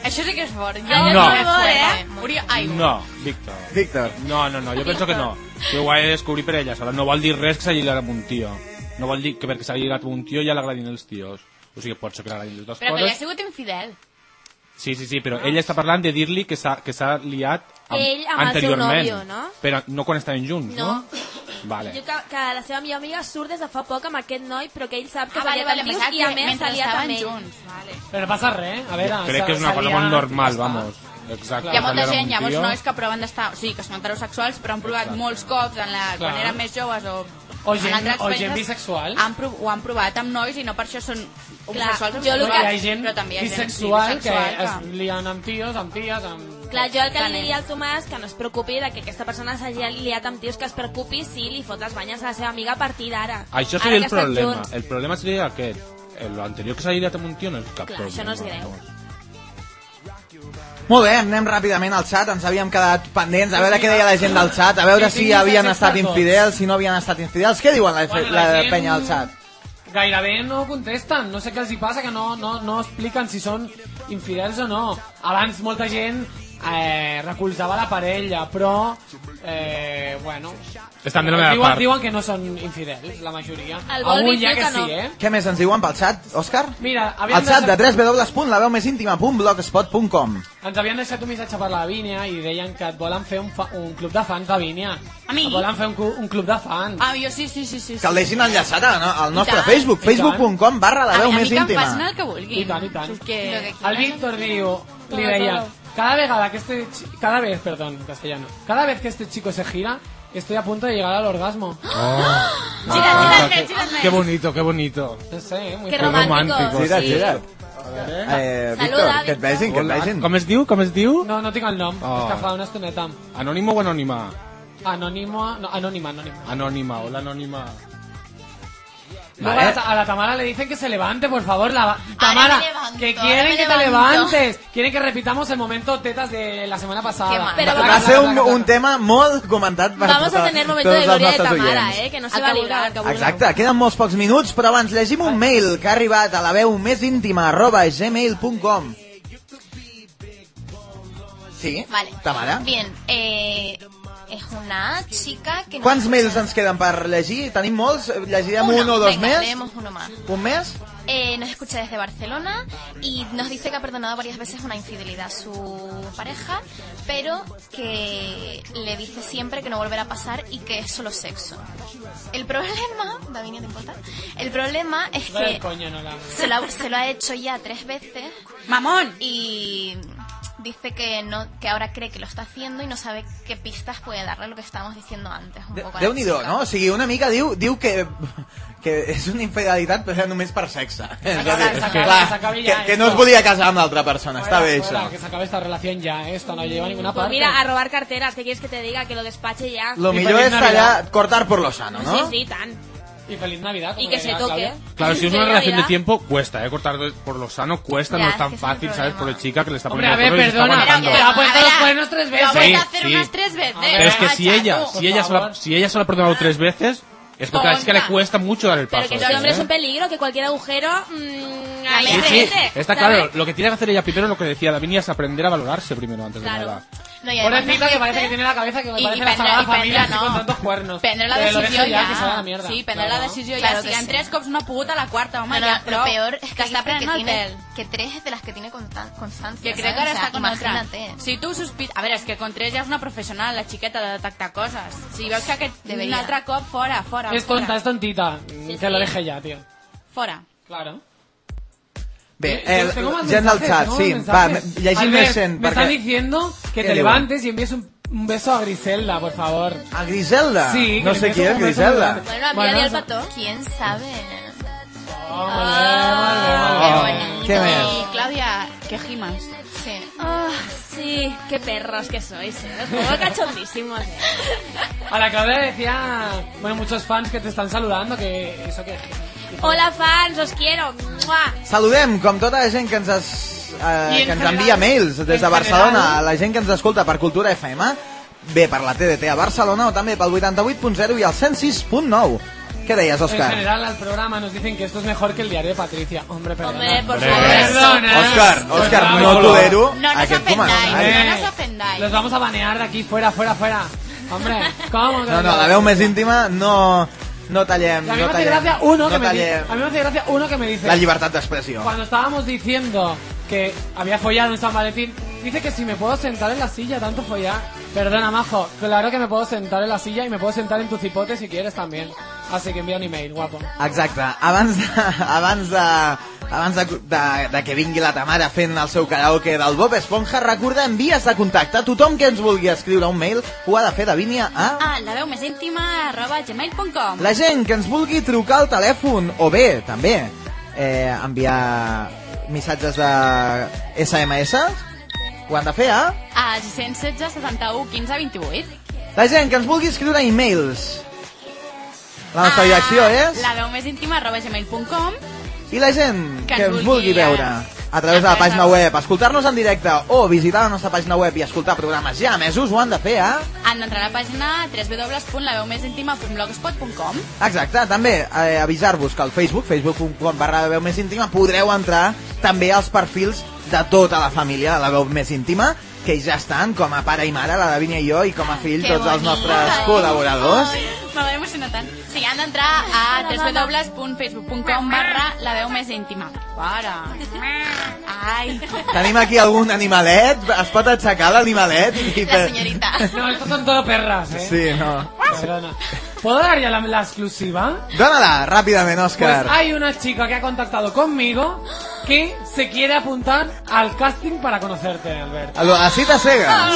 Speaker 4: Això sí que és fort. Jo
Speaker 10: No.
Speaker 4: ja és
Speaker 6: No.
Speaker 4: fort, eh? Oriol, ai,
Speaker 10: No, Víctor.
Speaker 3: Víctor.
Speaker 10: No, no, no, jo penso que no. Que ho vaig descobrir per ella sola. No vol dir res que s'hagi lligat amb un tio. No vol dir que perquè s'hagi lligat amb un tio ja l'agradin els tios. O sigui, pot ser que l'agradin les dues
Speaker 4: Però que ja ha
Speaker 10: coses.
Speaker 4: sigut infidel.
Speaker 10: Sí, sí, sí, però ella està parlant de dir-li que s'ha que s'ha liat amb,
Speaker 6: Ell amb el seu
Speaker 10: anteriorment.
Speaker 6: nòvio, no?
Speaker 10: Però no quan estaven junts, no? Vale.
Speaker 6: Diu que, que la seva millor amiga surt des de fa poc amb aquest noi, però que ell sap que
Speaker 4: Ah,
Speaker 6: s'ha
Speaker 4: vale,
Speaker 6: liat
Speaker 4: vale,
Speaker 6: amb
Speaker 4: pensava
Speaker 6: tios
Speaker 4: que
Speaker 6: i a més s'ha
Speaker 4: mentre
Speaker 6: liat
Speaker 4: estaven
Speaker 6: amb ell.
Speaker 4: junts. Vale.
Speaker 7: Pero no pasa re, ¿eh? a ver. o
Speaker 10: Crec
Speaker 7: sea,
Speaker 10: que és una cosa
Speaker 7: salían,
Speaker 10: molt normal,
Speaker 7: ya está.
Speaker 10: vamos. Exacte.
Speaker 4: Hi ha molta
Speaker 10: Parlar amb
Speaker 4: gent,
Speaker 10: un
Speaker 4: hi ha molts
Speaker 10: tio.
Speaker 4: nois que proven d'estar... O sigui, que són heterosexuals, però han provat molts cops en la, quan
Speaker 7: Clar.
Speaker 4: eren més joves o...
Speaker 7: O
Speaker 4: en
Speaker 7: gent-
Speaker 4: altres
Speaker 7: o gent
Speaker 4: experiències,
Speaker 7: bisexual.
Speaker 4: Han prov, ho han provat amb nois i no per això són homosexuals.
Speaker 6: jo
Speaker 7: No,
Speaker 6: lo
Speaker 7: i
Speaker 6: que-
Speaker 7: hi ha gent
Speaker 4: però també hi ha gent
Speaker 7: bisexual que
Speaker 4: bisexual
Speaker 7: es lían amb tios, amb ties, amb...
Speaker 6: Clar, jo el que li
Speaker 4: Canet.
Speaker 6: diria al Tomàs que no es preocupi de que aquesta persona s'hagi liat amb tios que es preocupi si li fot les banyes a la seva amiga a partir d'ara.
Speaker 10: Això
Speaker 6: Ara
Speaker 10: seria el
Speaker 6: que estan
Speaker 10: problema.
Speaker 6: junts.
Speaker 10: El problema seria aquest. El anterior que s'ha lligat amb un tio no és cap
Speaker 6: Clar,
Speaker 10: problema.
Speaker 6: això no és greu.
Speaker 10: vamos.
Speaker 3: Molt bé, anem ràpidament al xat, ens havíem quedat pendents a veure què
Speaker 7: ah,
Speaker 3: deia la gent del xat, a veure si havien estat infidels, si no havien estat infidels. Què diuen la, fe- la penya del xat?
Speaker 7: Gairebé no contesten, no sé què els hi passa, que no, no, no expliquen si són infidels o no. Abans molta gent eh, recolzava la parella, però, eh, bueno...
Speaker 10: Estan de la meva
Speaker 7: diuen,
Speaker 10: part.
Speaker 7: Diuen que no són infidels, la majoria.
Speaker 6: El Volvi
Speaker 7: Avui ja que,
Speaker 6: diu que no.
Speaker 7: sí, eh?
Speaker 3: Què més ens diuen pel xat, Òscar?
Speaker 7: Mira, havíem
Speaker 3: El xat de
Speaker 7: deixat-
Speaker 3: 3 www.blogspot.com
Speaker 7: Ens havien deixat un missatge per la Vínia i deien que et volen fer un, fa, un club de fans, Lavínia.
Speaker 4: A mi?
Speaker 7: Et volen fer un, cu- un club de fans.
Speaker 4: Ah, jo sí, sí, sí. sí,
Speaker 3: Que
Speaker 4: sí.
Speaker 3: el deixin enllaçat al, no- al nostre
Speaker 4: tant,
Speaker 3: Facebook,
Speaker 7: i tant.
Speaker 3: facebook.com barra la
Speaker 4: a,
Speaker 3: veu
Speaker 4: mi- a
Speaker 3: més
Speaker 4: mi que em passin
Speaker 3: íntima.
Speaker 4: el que vulguin.
Speaker 7: I tant, i tant.
Speaker 4: És que...
Speaker 5: Lo que
Speaker 7: El Víctor diu, li deia, cada vegada que este chi- cada vez, perdón, en castellano, cada vez que este chico se gira, estoy a punto de llegar al orgasmo.
Speaker 10: Ah,
Speaker 6: Gira't,
Speaker 10: qué-
Speaker 6: gira't més.
Speaker 10: qué bonito, qué bonito.
Speaker 7: No sé, eh, muy
Speaker 6: Que
Speaker 10: Qué
Speaker 6: romántico.
Speaker 10: romántico.
Speaker 6: Gira't, gira't.
Speaker 3: Eh, Víctor,
Speaker 6: Saluda,
Speaker 3: que et vegin, que et
Speaker 10: Hola,
Speaker 3: vegin.
Speaker 10: Com es diu? Com es diu?
Speaker 7: No, no tinc el nom,
Speaker 10: Oh.
Speaker 7: és que fa una estoneta.
Speaker 10: Anònimo o anònima?
Speaker 7: Anónimo, no, anónima, anónima.
Speaker 10: Anònima, hola anònima.
Speaker 7: Luego a, la, Ta- a la Tamara le dicen que se levante, por favor, la Tamara,
Speaker 5: me levanto,
Speaker 7: que
Speaker 5: ahora
Speaker 7: quieren
Speaker 5: me
Speaker 7: que te
Speaker 5: levanto.
Speaker 7: levantes, quieren que repetamos el momento tetas de la semana
Speaker 5: Qué
Speaker 7: pasada.
Speaker 5: mal.
Speaker 6: Pero
Speaker 3: Va ser un, un tema molt comentat per
Speaker 6: Vamos a
Speaker 3: tota-
Speaker 6: tener momento
Speaker 3: tots
Speaker 6: de
Speaker 3: els
Speaker 6: gloria de
Speaker 3: nostres
Speaker 6: Tamara,
Speaker 3: oients.
Speaker 6: eh, que no se
Speaker 4: El
Speaker 6: va a
Speaker 4: que vulgueu, el
Speaker 6: librar.
Speaker 4: que vulgueu.
Speaker 3: Exacte, queden molts pocs minuts, però abans llegim un mail que ha arribat a la veu més íntima arroba gmail.com Sí,
Speaker 5: Vale.
Speaker 3: Tamara?
Speaker 5: Bien, eh, es una chica que... no-
Speaker 3: Quants mails ens queden per llegir? Tenim molts? Llegirem
Speaker 5: Uno.
Speaker 3: un o dos
Speaker 5: Venga,
Speaker 3: més?
Speaker 5: leemos uno más.
Speaker 3: Un més?
Speaker 5: Eh, nos escucha desde Barcelona y nos dice que ha perdonado varias veces una infidelidad a su pareja, pero que le dice siempre que no volverá a pasar y que es solo sexo. El problema, (laughs) Davinia, ¿te importa? El problema es que
Speaker 7: Coño, no la...
Speaker 5: se lo, ha, se lo ha hecho ya tres veces
Speaker 4: Mamón!
Speaker 5: y dice que no que ahora cree que lo está haciendo y no sabe qué pistas puede darle lo que estábamos diciendo antes. Un
Speaker 3: De,
Speaker 5: poco a la
Speaker 3: déu nhi
Speaker 5: chica.
Speaker 3: no? O sigui, una mica diu, diu que, que és una infidelitat però era només per sexe. És a dir,
Speaker 7: s'acabi,
Speaker 3: clar,
Speaker 7: s'acabi
Speaker 3: que,
Speaker 7: ja
Speaker 3: que
Speaker 7: esto.
Speaker 3: no es volia casar amb l'altra persona, està bé
Speaker 7: Fuera,
Speaker 3: això.
Speaker 7: Que se acabe esta relación ya, eh, esto no lleva a ninguna
Speaker 6: Pues
Speaker 7: parte.
Speaker 6: mira, a robar carteras, ¿qué quieres que te diga? Que lo despache ya.
Speaker 3: Lo
Speaker 7: I
Speaker 3: millor
Speaker 7: feliç
Speaker 3: és tallar, cortar por lo sano, no?
Speaker 6: Sí, sí, tan.
Speaker 7: Y feliz Navidad. como
Speaker 6: Y que se
Speaker 7: diría
Speaker 6: toque.
Speaker 7: Claudia.
Speaker 10: Claro, si es una
Speaker 6: Sí,
Speaker 10: relación de
Speaker 6: Navidad.
Speaker 10: tiempo, cuesta, ¿eh? Cortar por lo sano cuesta,
Speaker 5: Ya,
Speaker 10: no
Speaker 5: es
Speaker 10: es tan
Speaker 5: que es un
Speaker 10: fácil, ¿sabes? Por
Speaker 5: problema.
Speaker 10: la chica que le está
Speaker 7: Hombre, a
Speaker 10: poniendo cuernos
Speaker 7: ver,
Speaker 10: y se está
Speaker 7: perdona,
Speaker 10: aguantando.
Speaker 7: pero ha puesto los cuernos tres
Speaker 4: Lo ha
Speaker 7: veces.
Speaker 4: vuelto a
Speaker 10: Sí,
Speaker 4: hacer
Speaker 10: sí.
Speaker 4: unas tres veces.
Speaker 10: Pero
Speaker 6: ah,
Speaker 10: es que si
Speaker 4: macho,
Speaker 10: ella,
Speaker 4: tú.
Speaker 10: si ella, se la,
Speaker 7: favor.
Speaker 10: si ella se lo ha perdonado tres veces, es porque es que le
Speaker 4: Tonta.
Speaker 10: cuesta mucho dar el
Speaker 6: Pero
Speaker 10: paso.
Speaker 6: que
Speaker 10: ¿sabes?
Speaker 6: el hombre
Speaker 8: ¿eh?
Speaker 6: es un peligro, que cualquier agujero... Mmm, ahí
Speaker 10: Sí,
Speaker 6: se
Speaker 10: sí,
Speaker 6: mete,
Speaker 10: está
Speaker 6: ¿sabes?
Speaker 10: claro. Lo que tiene que hacer ella primero, lo que decía Davinia, es aprender a valorarse primero antes de
Speaker 6: Claro.
Speaker 10: nada.
Speaker 5: No, y además
Speaker 7: Pobrecita que
Speaker 5: dice-
Speaker 7: parece que tiene la cabeza que me
Speaker 4: Y- y
Speaker 7: parece la
Speaker 4: prendrá-
Speaker 7: sagrada
Speaker 4: y prendrá,
Speaker 7: familia así
Speaker 4: no.
Speaker 7: con tantos cuernos.
Speaker 4: Prendre la
Speaker 7: Que lo deje
Speaker 4: decisió
Speaker 7: ja,
Speaker 4: ja.
Speaker 7: que se va a la mierda.
Speaker 4: Sí, prendre
Speaker 7: Claro,
Speaker 4: la
Speaker 7: no?
Speaker 4: decisió
Speaker 5: Claro
Speaker 4: ja.
Speaker 5: que
Speaker 4: Si en
Speaker 5: sí.
Speaker 4: tres cops una puta, la quarta, home,
Speaker 5: Bueno,
Speaker 4: ja,
Speaker 5: lo
Speaker 4: però...
Speaker 5: peor es que,
Speaker 4: que està
Speaker 5: dice que,
Speaker 4: prenent el
Speaker 5: tiene,
Speaker 4: pèl.
Speaker 5: que tres es de las que tiene constan- constancia.
Speaker 4: Que
Speaker 5: ¿sabes?
Speaker 4: crec que ara
Speaker 5: O sea,
Speaker 4: està com otra.
Speaker 5: imagínate.
Speaker 4: Si tu sospites... A veure, és que con tres ja és una professional, la xiqueta, de detectar coses. Si veus que aquest... Un
Speaker 5: Debería.
Speaker 4: altre cop, fora, fora.
Speaker 7: Es
Speaker 4: fora.
Speaker 7: tonta, es tontita. que lo deje ya, tío.
Speaker 4: Fora.
Speaker 7: Claro.
Speaker 3: Bé,
Speaker 7: Eh,
Speaker 3: eh,
Speaker 7: tengo más
Speaker 3: gent del
Speaker 7: mensajes,
Speaker 3: xat,
Speaker 7: tengo
Speaker 3: sí,
Speaker 7: más
Speaker 3: va,
Speaker 7: mensajes.
Speaker 3: llegim
Speaker 7: Albert,
Speaker 3: més gent,
Speaker 7: Me están
Speaker 3: perquè...
Speaker 7: diciendo que
Speaker 3: ¿Qué
Speaker 7: te
Speaker 3: digo?
Speaker 7: levantes y envíes un, un beso a Griselda, por favor.
Speaker 3: A Griselda? Ah,
Speaker 7: Sí, que
Speaker 3: no
Speaker 7: le
Speaker 3: sé
Speaker 7: envíes
Speaker 3: qui
Speaker 7: un
Speaker 3: és
Speaker 7: beso
Speaker 3: Griselda.
Speaker 7: muy grande.
Speaker 6: Bueno, a mí
Speaker 7: Bueno,
Speaker 6: al
Speaker 7: eso-
Speaker 6: pato.
Speaker 5: ¿Quién sabe?
Speaker 7: Oh, Ah,
Speaker 3: Ah.
Speaker 7: vale, vale, vale.
Speaker 3: Què més?
Speaker 4: I, Clàudia, que gimas.
Speaker 5: Sí.
Speaker 6: Ah, sí, qué perros que sois, ¿eh?
Speaker 4: (laughs)
Speaker 6: Os pongo cachondísimos, ¿eh?
Speaker 7: A la Claudia le decía, bueno, muchos fans que te están saludando, que eso que...
Speaker 6: Hola, fans, os quiero. ¡Mua!
Speaker 3: Saludem, com tota la gent que ens, es,
Speaker 7: I
Speaker 3: eh,
Speaker 7: en
Speaker 3: que ens
Speaker 7: general-
Speaker 3: envia mails des de
Speaker 7: en
Speaker 3: Barcelona,
Speaker 7: general-
Speaker 3: a la gent que ens escolta per Cultura FM, bé, per la TDT a Barcelona o també pel 88.0 i el 106.9. Què deies,
Speaker 7: En
Speaker 3: Òscar?
Speaker 7: general al programa nos dicen que esto es mejor que el diario de Patricia. Hombre, perdona.
Speaker 6: Hombre, pues, por
Speaker 10: Hombre.
Speaker 6: favor.
Speaker 7: Perdona. Pues Eh,
Speaker 3: Òscar, Òscar, no tolero
Speaker 4: No, no
Speaker 3: aquest
Speaker 4: s'ofendáis.
Speaker 3: comentari.
Speaker 4: No nos ofendáis.
Speaker 7: Los vamos a banear de aquí, fuera, fuera, fuera. Hombre, ¿cómo? que
Speaker 3: No, no,
Speaker 7: los-
Speaker 3: la veu més íntima no, no tallem,
Speaker 7: Y a mí
Speaker 3: no
Speaker 7: me hace
Speaker 3: tallem.
Speaker 7: gracia uno que
Speaker 3: no
Speaker 7: me dice.
Speaker 3: tallem
Speaker 7: A mí me hace gracia uno que me dice.
Speaker 3: la llibertat d'expressió.
Speaker 7: Cuando estábamos diciendo que había follado en San Valentín, dice que si me puedo sentar en la silla, tanto follar. Perdona, majo. Claro que me puedo sentar en la silla y me puedo sentar en tu cipote si quieres también. Así que envía un email, guapo.
Speaker 3: Exacte, abans de, (laughs) abans de, abans de, de, de que vingui la Tamara fent el seu karaoke del Bob Esponja, recordem vies de contacte. Tothom que ens vulgui escriure un mail ho ha de fer de vínia a...
Speaker 4: Ah, la veu més íntima, arroba gmail.com.
Speaker 3: La gent que ens vulgui trucar al telèfon, o bé, també, eh, enviar missatges de SMS, ho han de fer a...
Speaker 4: A 616 71 15 28.
Speaker 3: La gent que ens vulgui escriure e-mails. Ah, La
Speaker 6: Ah,
Speaker 3: nostra direcció és...
Speaker 4: Ah, La veu més íntima, arroba gmail.com.
Speaker 3: I la gent que,
Speaker 4: Que ens
Speaker 3: ens vulgui
Speaker 4: vulgui, eh,
Speaker 3: veure a través de la pàgina web, escoltar-nos en directe o visitar la nostra pàgina web i escoltar programes ja emesos, ho han de fer eh? a...
Speaker 4: Han d'entrar a la pàgina www.laveumésíntima.blogspot.com
Speaker 3: Exacte, també eh, avisar-vos que al Facebook, facebook.com barra la veu més íntima, podreu entrar també als perfils de tota la família de la veu més íntima, que ja estan com a pare i mare, la Davinia i jo, i com a fill
Speaker 5: Que
Speaker 3: tots els
Speaker 5: bonic.
Speaker 3: nostres col·laboradors.
Speaker 4: Me va emocionar tant. Sí, han d'entrar a www.facebook.com barra la veu més íntima. Para. Ai.
Speaker 3: Tenim aquí algun animalet, es pot aixecar l'animalet? I
Speaker 5: La
Speaker 3: per-
Speaker 7: (laughs)
Speaker 5: señorita.
Speaker 7: No, estos son todo perras, eh.
Speaker 3: Sí, no.
Speaker 7: Perdona. ¿Puedo dar ya la, la exclusiva?
Speaker 3: Dóna-la, ràpidament,
Speaker 7: Pues
Speaker 3: Òscar.
Speaker 7: hay una chica que ha contactado conmigo que se quiere apuntar al casting para conocerte, Alberto.
Speaker 3: A lo- a cita cega.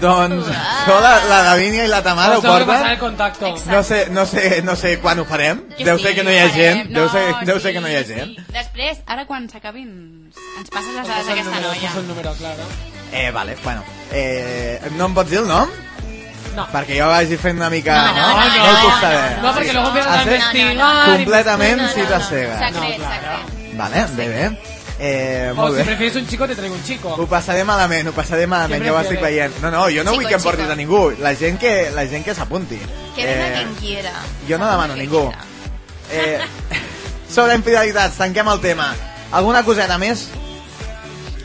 Speaker 3: Doncs
Speaker 5: Ah.
Speaker 3: això la, la Davinia i la Tamara ho
Speaker 7: Os Pues tengo que pasar el
Speaker 3: porten.
Speaker 7: contacto.
Speaker 3: No sé, no, sé, no sé quan ho farem.
Speaker 4: Que
Speaker 3: deu
Speaker 4: sí,
Speaker 3: ser que no hi ha
Speaker 4: farem.
Speaker 3: gent. deu ser, deu
Speaker 4: sí,
Speaker 3: ser que no hi ha
Speaker 4: sí.
Speaker 3: gent.
Speaker 4: Després, ara quan s'acabin, ens passes les
Speaker 7: Pues
Speaker 4: dades
Speaker 7: son
Speaker 4: d'aquesta
Speaker 7: números,
Speaker 4: noia.
Speaker 7: pues son números, claro.
Speaker 3: Eh, vale, bueno. Eh, no em pots dir el nom?
Speaker 7: No.
Speaker 3: Perquè jo vagi fent una mica...
Speaker 5: No, no, no,
Speaker 3: no, ho
Speaker 5: no,
Speaker 3: puc saber.
Speaker 7: No, porque luego empiezas a
Speaker 3: Has de-
Speaker 7: investigar.
Speaker 3: Completament
Speaker 5: No, no,
Speaker 3: cita
Speaker 5: no.
Speaker 3: cega.
Speaker 5: Sacred, sacred.
Speaker 3: Vale, bé, bé.
Speaker 5: Oh,
Speaker 3: Eh,
Speaker 7: O
Speaker 3: molt
Speaker 7: si
Speaker 3: bé.
Speaker 7: prefieres un chico, te traigo un
Speaker 3: Ho
Speaker 7: chico.
Speaker 3: pasaré malament, ho pasaré malament,
Speaker 7: Què
Speaker 3: ja ho estic
Speaker 7: prefieres?
Speaker 3: veient. No, no, jo no
Speaker 5: Chico,
Speaker 3: vull que em portis
Speaker 5: chico.
Speaker 3: a ningú. La gent que, la gent que s'apunti. Eh,
Speaker 5: Que venga
Speaker 7: Eh,
Speaker 5: quien quiera.
Speaker 3: Jo no demano a
Speaker 5: Que
Speaker 3: ningú.
Speaker 5: quiera.
Speaker 3: Eh, (laughs) sobre infidelitats, tanquem el tema. Alguna coseta més?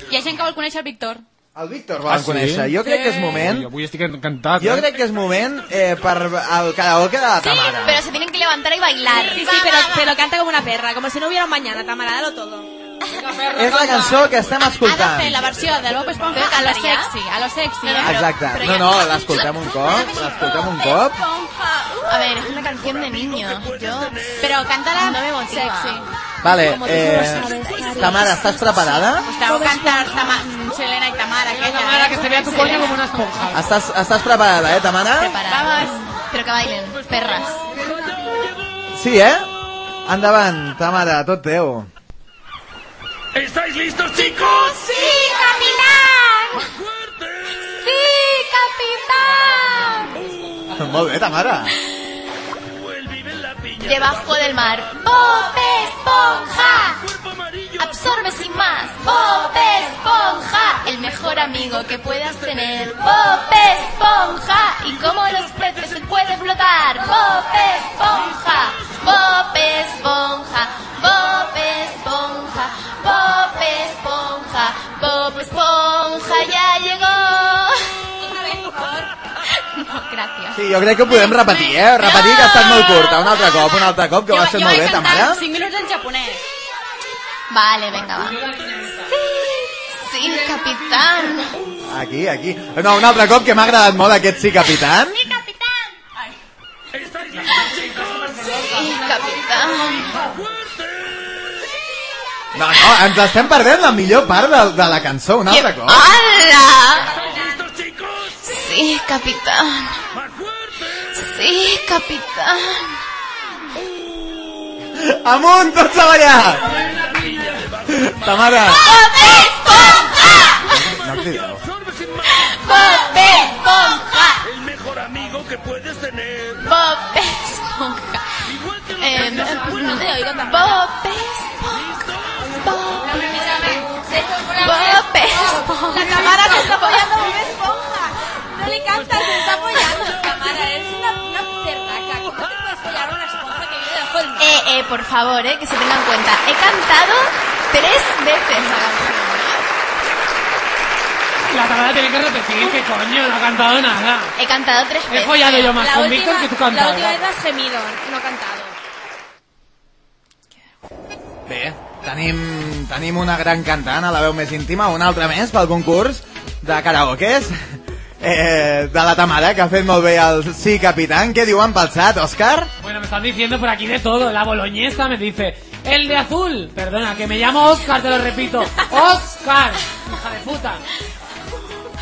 Speaker 4: Hi ha gent que vol conèixer el Víctor.
Speaker 3: El Víctor
Speaker 10: Ah,
Speaker 3: volen
Speaker 10: sí?
Speaker 3: conèixer. Jo crec que és moment...
Speaker 10: Yo voy a estar encantado.
Speaker 3: Jo crec que és moment eh, per al karaoke de la Tamara.
Speaker 5: Pero se tienen que levantar y bailar.
Speaker 6: Sí, sí, pero, pero canta como una perra, como si no hubiera un mañana, Tamara, dalo todo.
Speaker 3: És la cançó que estem
Speaker 4: Ha de fer
Speaker 3: escoltant.
Speaker 4: Eh, la versió de López Esponja a lo sexy, a lo sexy.
Speaker 3: Exacte. No, no, l'escoltem un cop, l'escoltem un cop.
Speaker 5: Esponja.
Speaker 4: A ver, es una canción de niños. Yo.
Speaker 6: Pero cántala
Speaker 4: No me motiva.
Speaker 6: sexy.
Speaker 3: Vale,
Speaker 6: Como tú
Speaker 3: eh,
Speaker 6: sabes.
Speaker 3: Tamara, ¿estás preparada?
Speaker 6: Pues te hago cantar Tama- mm, Selena y Tamara. aquella.
Speaker 7: Tamara, que se vea tu coño
Speaker 6: Selena.
Speaker 7: Pues como una esponja.
Speaker 3: ¿Estás, estás preparada, eh, Tamara?
Speaker 4: Preparadas. Pero que bailen, perras.
Speaker 3: Sí, eh? Endavant, Tamara, tot teu. (laughs)
Speaker 11: ¿Estáis listos, chicos?
Speaker 6: ¡Sí, capitán! ¡Sí, capitán!
Speaker 3: Molt bé, Tamara.
Speaker 4: Debajo del mar. Bob Esponja. Absorbe sin más. Bob Esponja. El mejor amigo que puedas tener. Bob Esponja. Y como los peces se puede flotar. Bob Esponja. Bob Esponja. Bob Esponja. Bob Esponja. Bob Esponja ya llegó. Una vez por- No, gracias.
Speaker 3: Sí, jo crec que ho podem repetir, eh? Repetir que ha estat molt curta. Un altre cop, un altre cop, que ho has fet molt bé, Tamara.
Speaker 6: 5 minuts en japonès.
Speaker 4: Vale, venga, va. Sí, capitán.
Speaker 3: Aquí, aquí. No, un altre cop, que m'ha agradat molt aquest sí, capitán.
Speaker 4: Sí, capitán.
Speaker 3: No, no, ens estem perdent la millor part de, de la cançó, un altre cop.
Speaker 4: ¡Hala! Sí, capitán. Sí, capitán.
Speaker 3: Amunt, tots a ballar! Tamara,
Speaker 4: ¡Bob Esponja!
Speaker 3: no crideu.
Speaker 4: ¡Bob Esponja!
Speaker 11: El mejor amigo que puedes tener.
Speaker 4: ¡Bob Esponja! Eh, no te oigo tan- Bob Esponja. Bob Esponja. Bob Esponja.
Speaker 12: La cámara se está apoyando Bob Esponja. No le cantas, se está apoyando. Cámara, eres una, una cerdaca. ¿Cómo te puedes apoyar a una esponja que vive debajo del mar?
Speaker 4: Eh, eh, por favor, eh, que se tengan cuenta. He cantado tres veces la canción.
Speaker 7: La Tamara tiene que repetir, que coño, no ha cantado nada.
Speaker 4: He cantado tres
Speaker 7: He
Speaker 4: veces.
Speaker 7: follado Eh, yo más
Speaker 12: La
Speaker 7: con
Speaker 12: última-
Speaker 7: Víctor que tú
Speaker 12: La última
Speaker 7: cantabas.
Speaker 12: vez has gemido, no cantado.
Speaker 3: Bé, tenim, tenim una gran cantant a la veu més íntima, una altra més pel concurs de karaokes eh, de la Tamara, que ha fet molt bé el Sí Capitán. Què diuen pel xat, Òscar?
Speaker 7: Bueno, me están diciendo por aquí de todo. La boloñesa me dice, el de azul. Perdona, que me llamo Oscar, te lo repito. Oscar, hija de puta.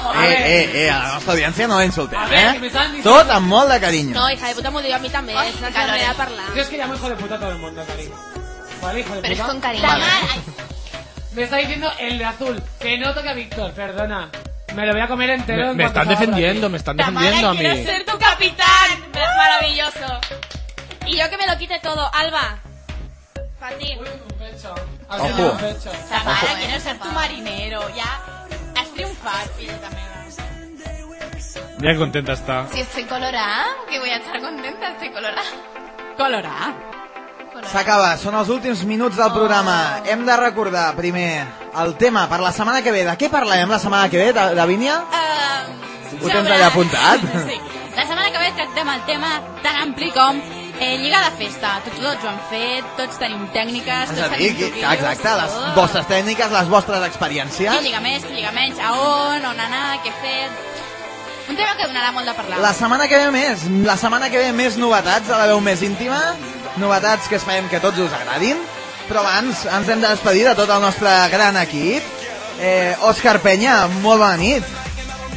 Speaker 7: A
Speaker 3: Eh,
Speaker 7: ver,
Speaker 3: eh, eh, a la nostra audiència no la
Speaker 7: A
Speaker 3: insultem,
Speaker 7: ver, que me
Speaker 3: eh?
Speaker 7: están diciendo...
Speaker 3: Tot amb molt de carinyo.
Speaker 12: No, hija de puta, m'ho diu a mi també.
Speaker 4: Ai,
Speaker 12: és una
Speaker 4: Carol.
Speaker 12: carrera parlar.
Speaker 7: Yo es que llamo hijo de puta a todo el mundo, cariño. Vale, hijo de
Speaker 4: Pero es
Speaker 7: puta.
Speaker 4: con cariño.
Speaker 3: Vale.
Speaker 7: Me está diciendo el de azul. Que no toque a Víctor, perdona. Me lo voy a comer entero.
Speaker 8: Me,
Speaker 7: en
Speaker 8: me
Speaker 7: cuanto
Speaker 8: están
Speaker 7: salga por
Speaker 8: defendiendo,
Speaker 7: aquí.
Speaker 8: me están defendiendo a
Speaker 12: quiero
Speaker 8: mí.
Speaker 12: ser tu capitán. Maravilloso. Y yo que me lo quite todo, Alba. Para ti.
Speaker 7: Un pecho. Ha sido
Speaker 3: Ojo.
Speaker 7: un pecho.
Speaker 6: Tamara, quiero ser tu marinero. Ya has triunfado, filla també.
Speaker 8: Ya contenta está.
Speaker 4: Si estoy colorada, que voy a estar contenta, estoy colorada.
Speaker 6: Colorà.
Speaker 3: S'acaba, són els últims minuts del programa. Hem de recordar, primer, el tema per la setmana que ve. De què parlarem la setmana que ve, Da- Davínia? Ho tens allà apuntat?
Speaker 6: (laughs) Sí. La setmana que ve tractem el tema tan ampli com eh, lligar de festa. Tots, tots ho han fet, tots tenim tècniques,
Speaker 3: És
Speaker 6: tots
Speaker 3: a dir,
Speaker 6: tenim
Speaker 3: qui-
Speaker 6: truquillos.
Speaker 3: exacte, les
Speaker 6: tot.
Speaker 3: vostres tècniques, les vostres
Speaker 6: Qui
Speaker 3: experiències.
Speaker 6: lliga més, qui lliga menys, a on, on anar, què fer... Un tema que donarà molt de parlar.
Speaker 3: La setmana que ve més, la setmana que ve més novetats a la veu més íntima, novetats que esperem que tots us agradin, però abans ens hem de despedir de tot el nostre gran equip. Eh, Òscar Penya, molt bona nit.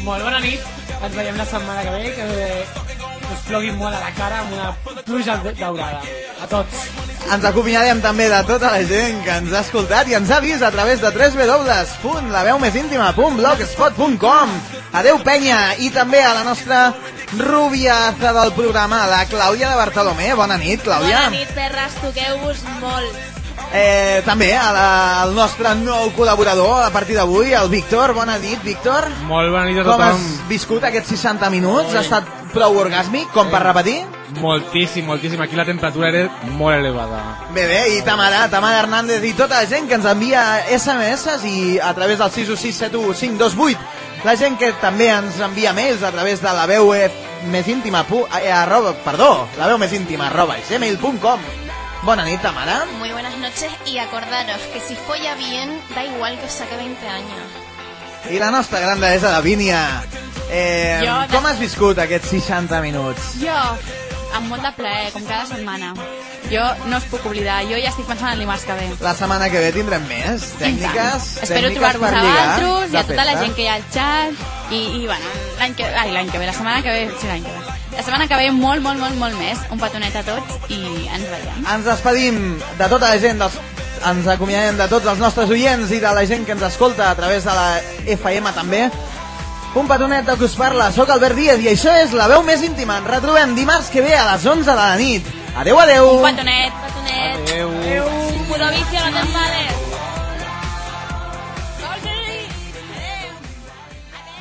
Speaker 7: Molt bona nit. Ens veiem la setmana que ve, que us ploguin molt a la cara amb una pluja de- daurada. A tots.
Speaker 3: Ens acompanyarem també de tota la gent que ens ha escoltat i ens ha vist a través de www.laveumésíntima.blogspot.com Adeu, penya! I també a la nostra rubiaza del programa, la Clàudia de Bartolomé. Bona nit, Clàudia.
Speaker 12: Bona nit, perres, toqueu-vos molt.
Speaker 3: Eh, també a la, al nostre nou col·laborador a partir d'avui, el Víctor. Bona nit, Víctor.
Speaker 8: Molt bona nit a
Speaker 3: Com has
Speaker 8: tothom.
Speaker 3: viscut aquests 60 minuts? Ha estat prou orgàsmic, com per repetir?
Speaker 8: Moltíssim, moltíssim. Aquí la temperatura era molt elevada.
Speaker 3: Bé, bé, i Tamara, Tamara Hernández i tota la gent que ens envia SMS i a través del 616715228 la gent que també ens envia mails a través de la veu eh, més íntima pu, eh, arroba, perdó, la veu més íntima arroba gmail.com Bona nit, Tamara.
Speaker 4: Muy buenas noches y acordaros que si folla bien, da igual que os saque 20 años.
Speaker 3: I la nostra gran deessa, la Vínia. Eh,
Speaker 6: Jo de-
Speaker 3: com has viscut aquests 60 minuts?
Speaker 6: Jo, amb molt de plaer, com cada setmana. Jo no us puc oblidar, jo ja estic pensant en dimarts que ve.
Speaker 3: La setmana que ve tindrem més tècniques.
Speaker 6: Espero
Speaker 3: tècniques
Speaker 6: trobar-vos
Speaker 3: per
Speaker 6: a
Speaker 3: lligar,
Speaker 6: vosaltres i
Speaker 3: de eh?
Speaker 6: a tota la
Speaker 3: festa.
Speaker 6: gent que hi ha al xat i, i bueno, l'any que, ai, l'any que ve, la setmana que ve, sí, l'any que ve. La setmana que ve molt, molt, molt, molt més. Un petonet a tots i ens veiem.
Speaker 3: Ens despedim de tota la gent, dels, ens acomiadem de tots els nostres oients i de la gent que ens escolta a través de la FM també. Un petonet del que us parla, sóc Albert Díaz i això és La veu més íntima. Ens retrobem dimarts que ve a les 11 de la nit. Adeu, adeu!
Speaker 6: Un petonet.
Speaker 13: Petonet. Adéu. Cuidado, vicio, no te enfades.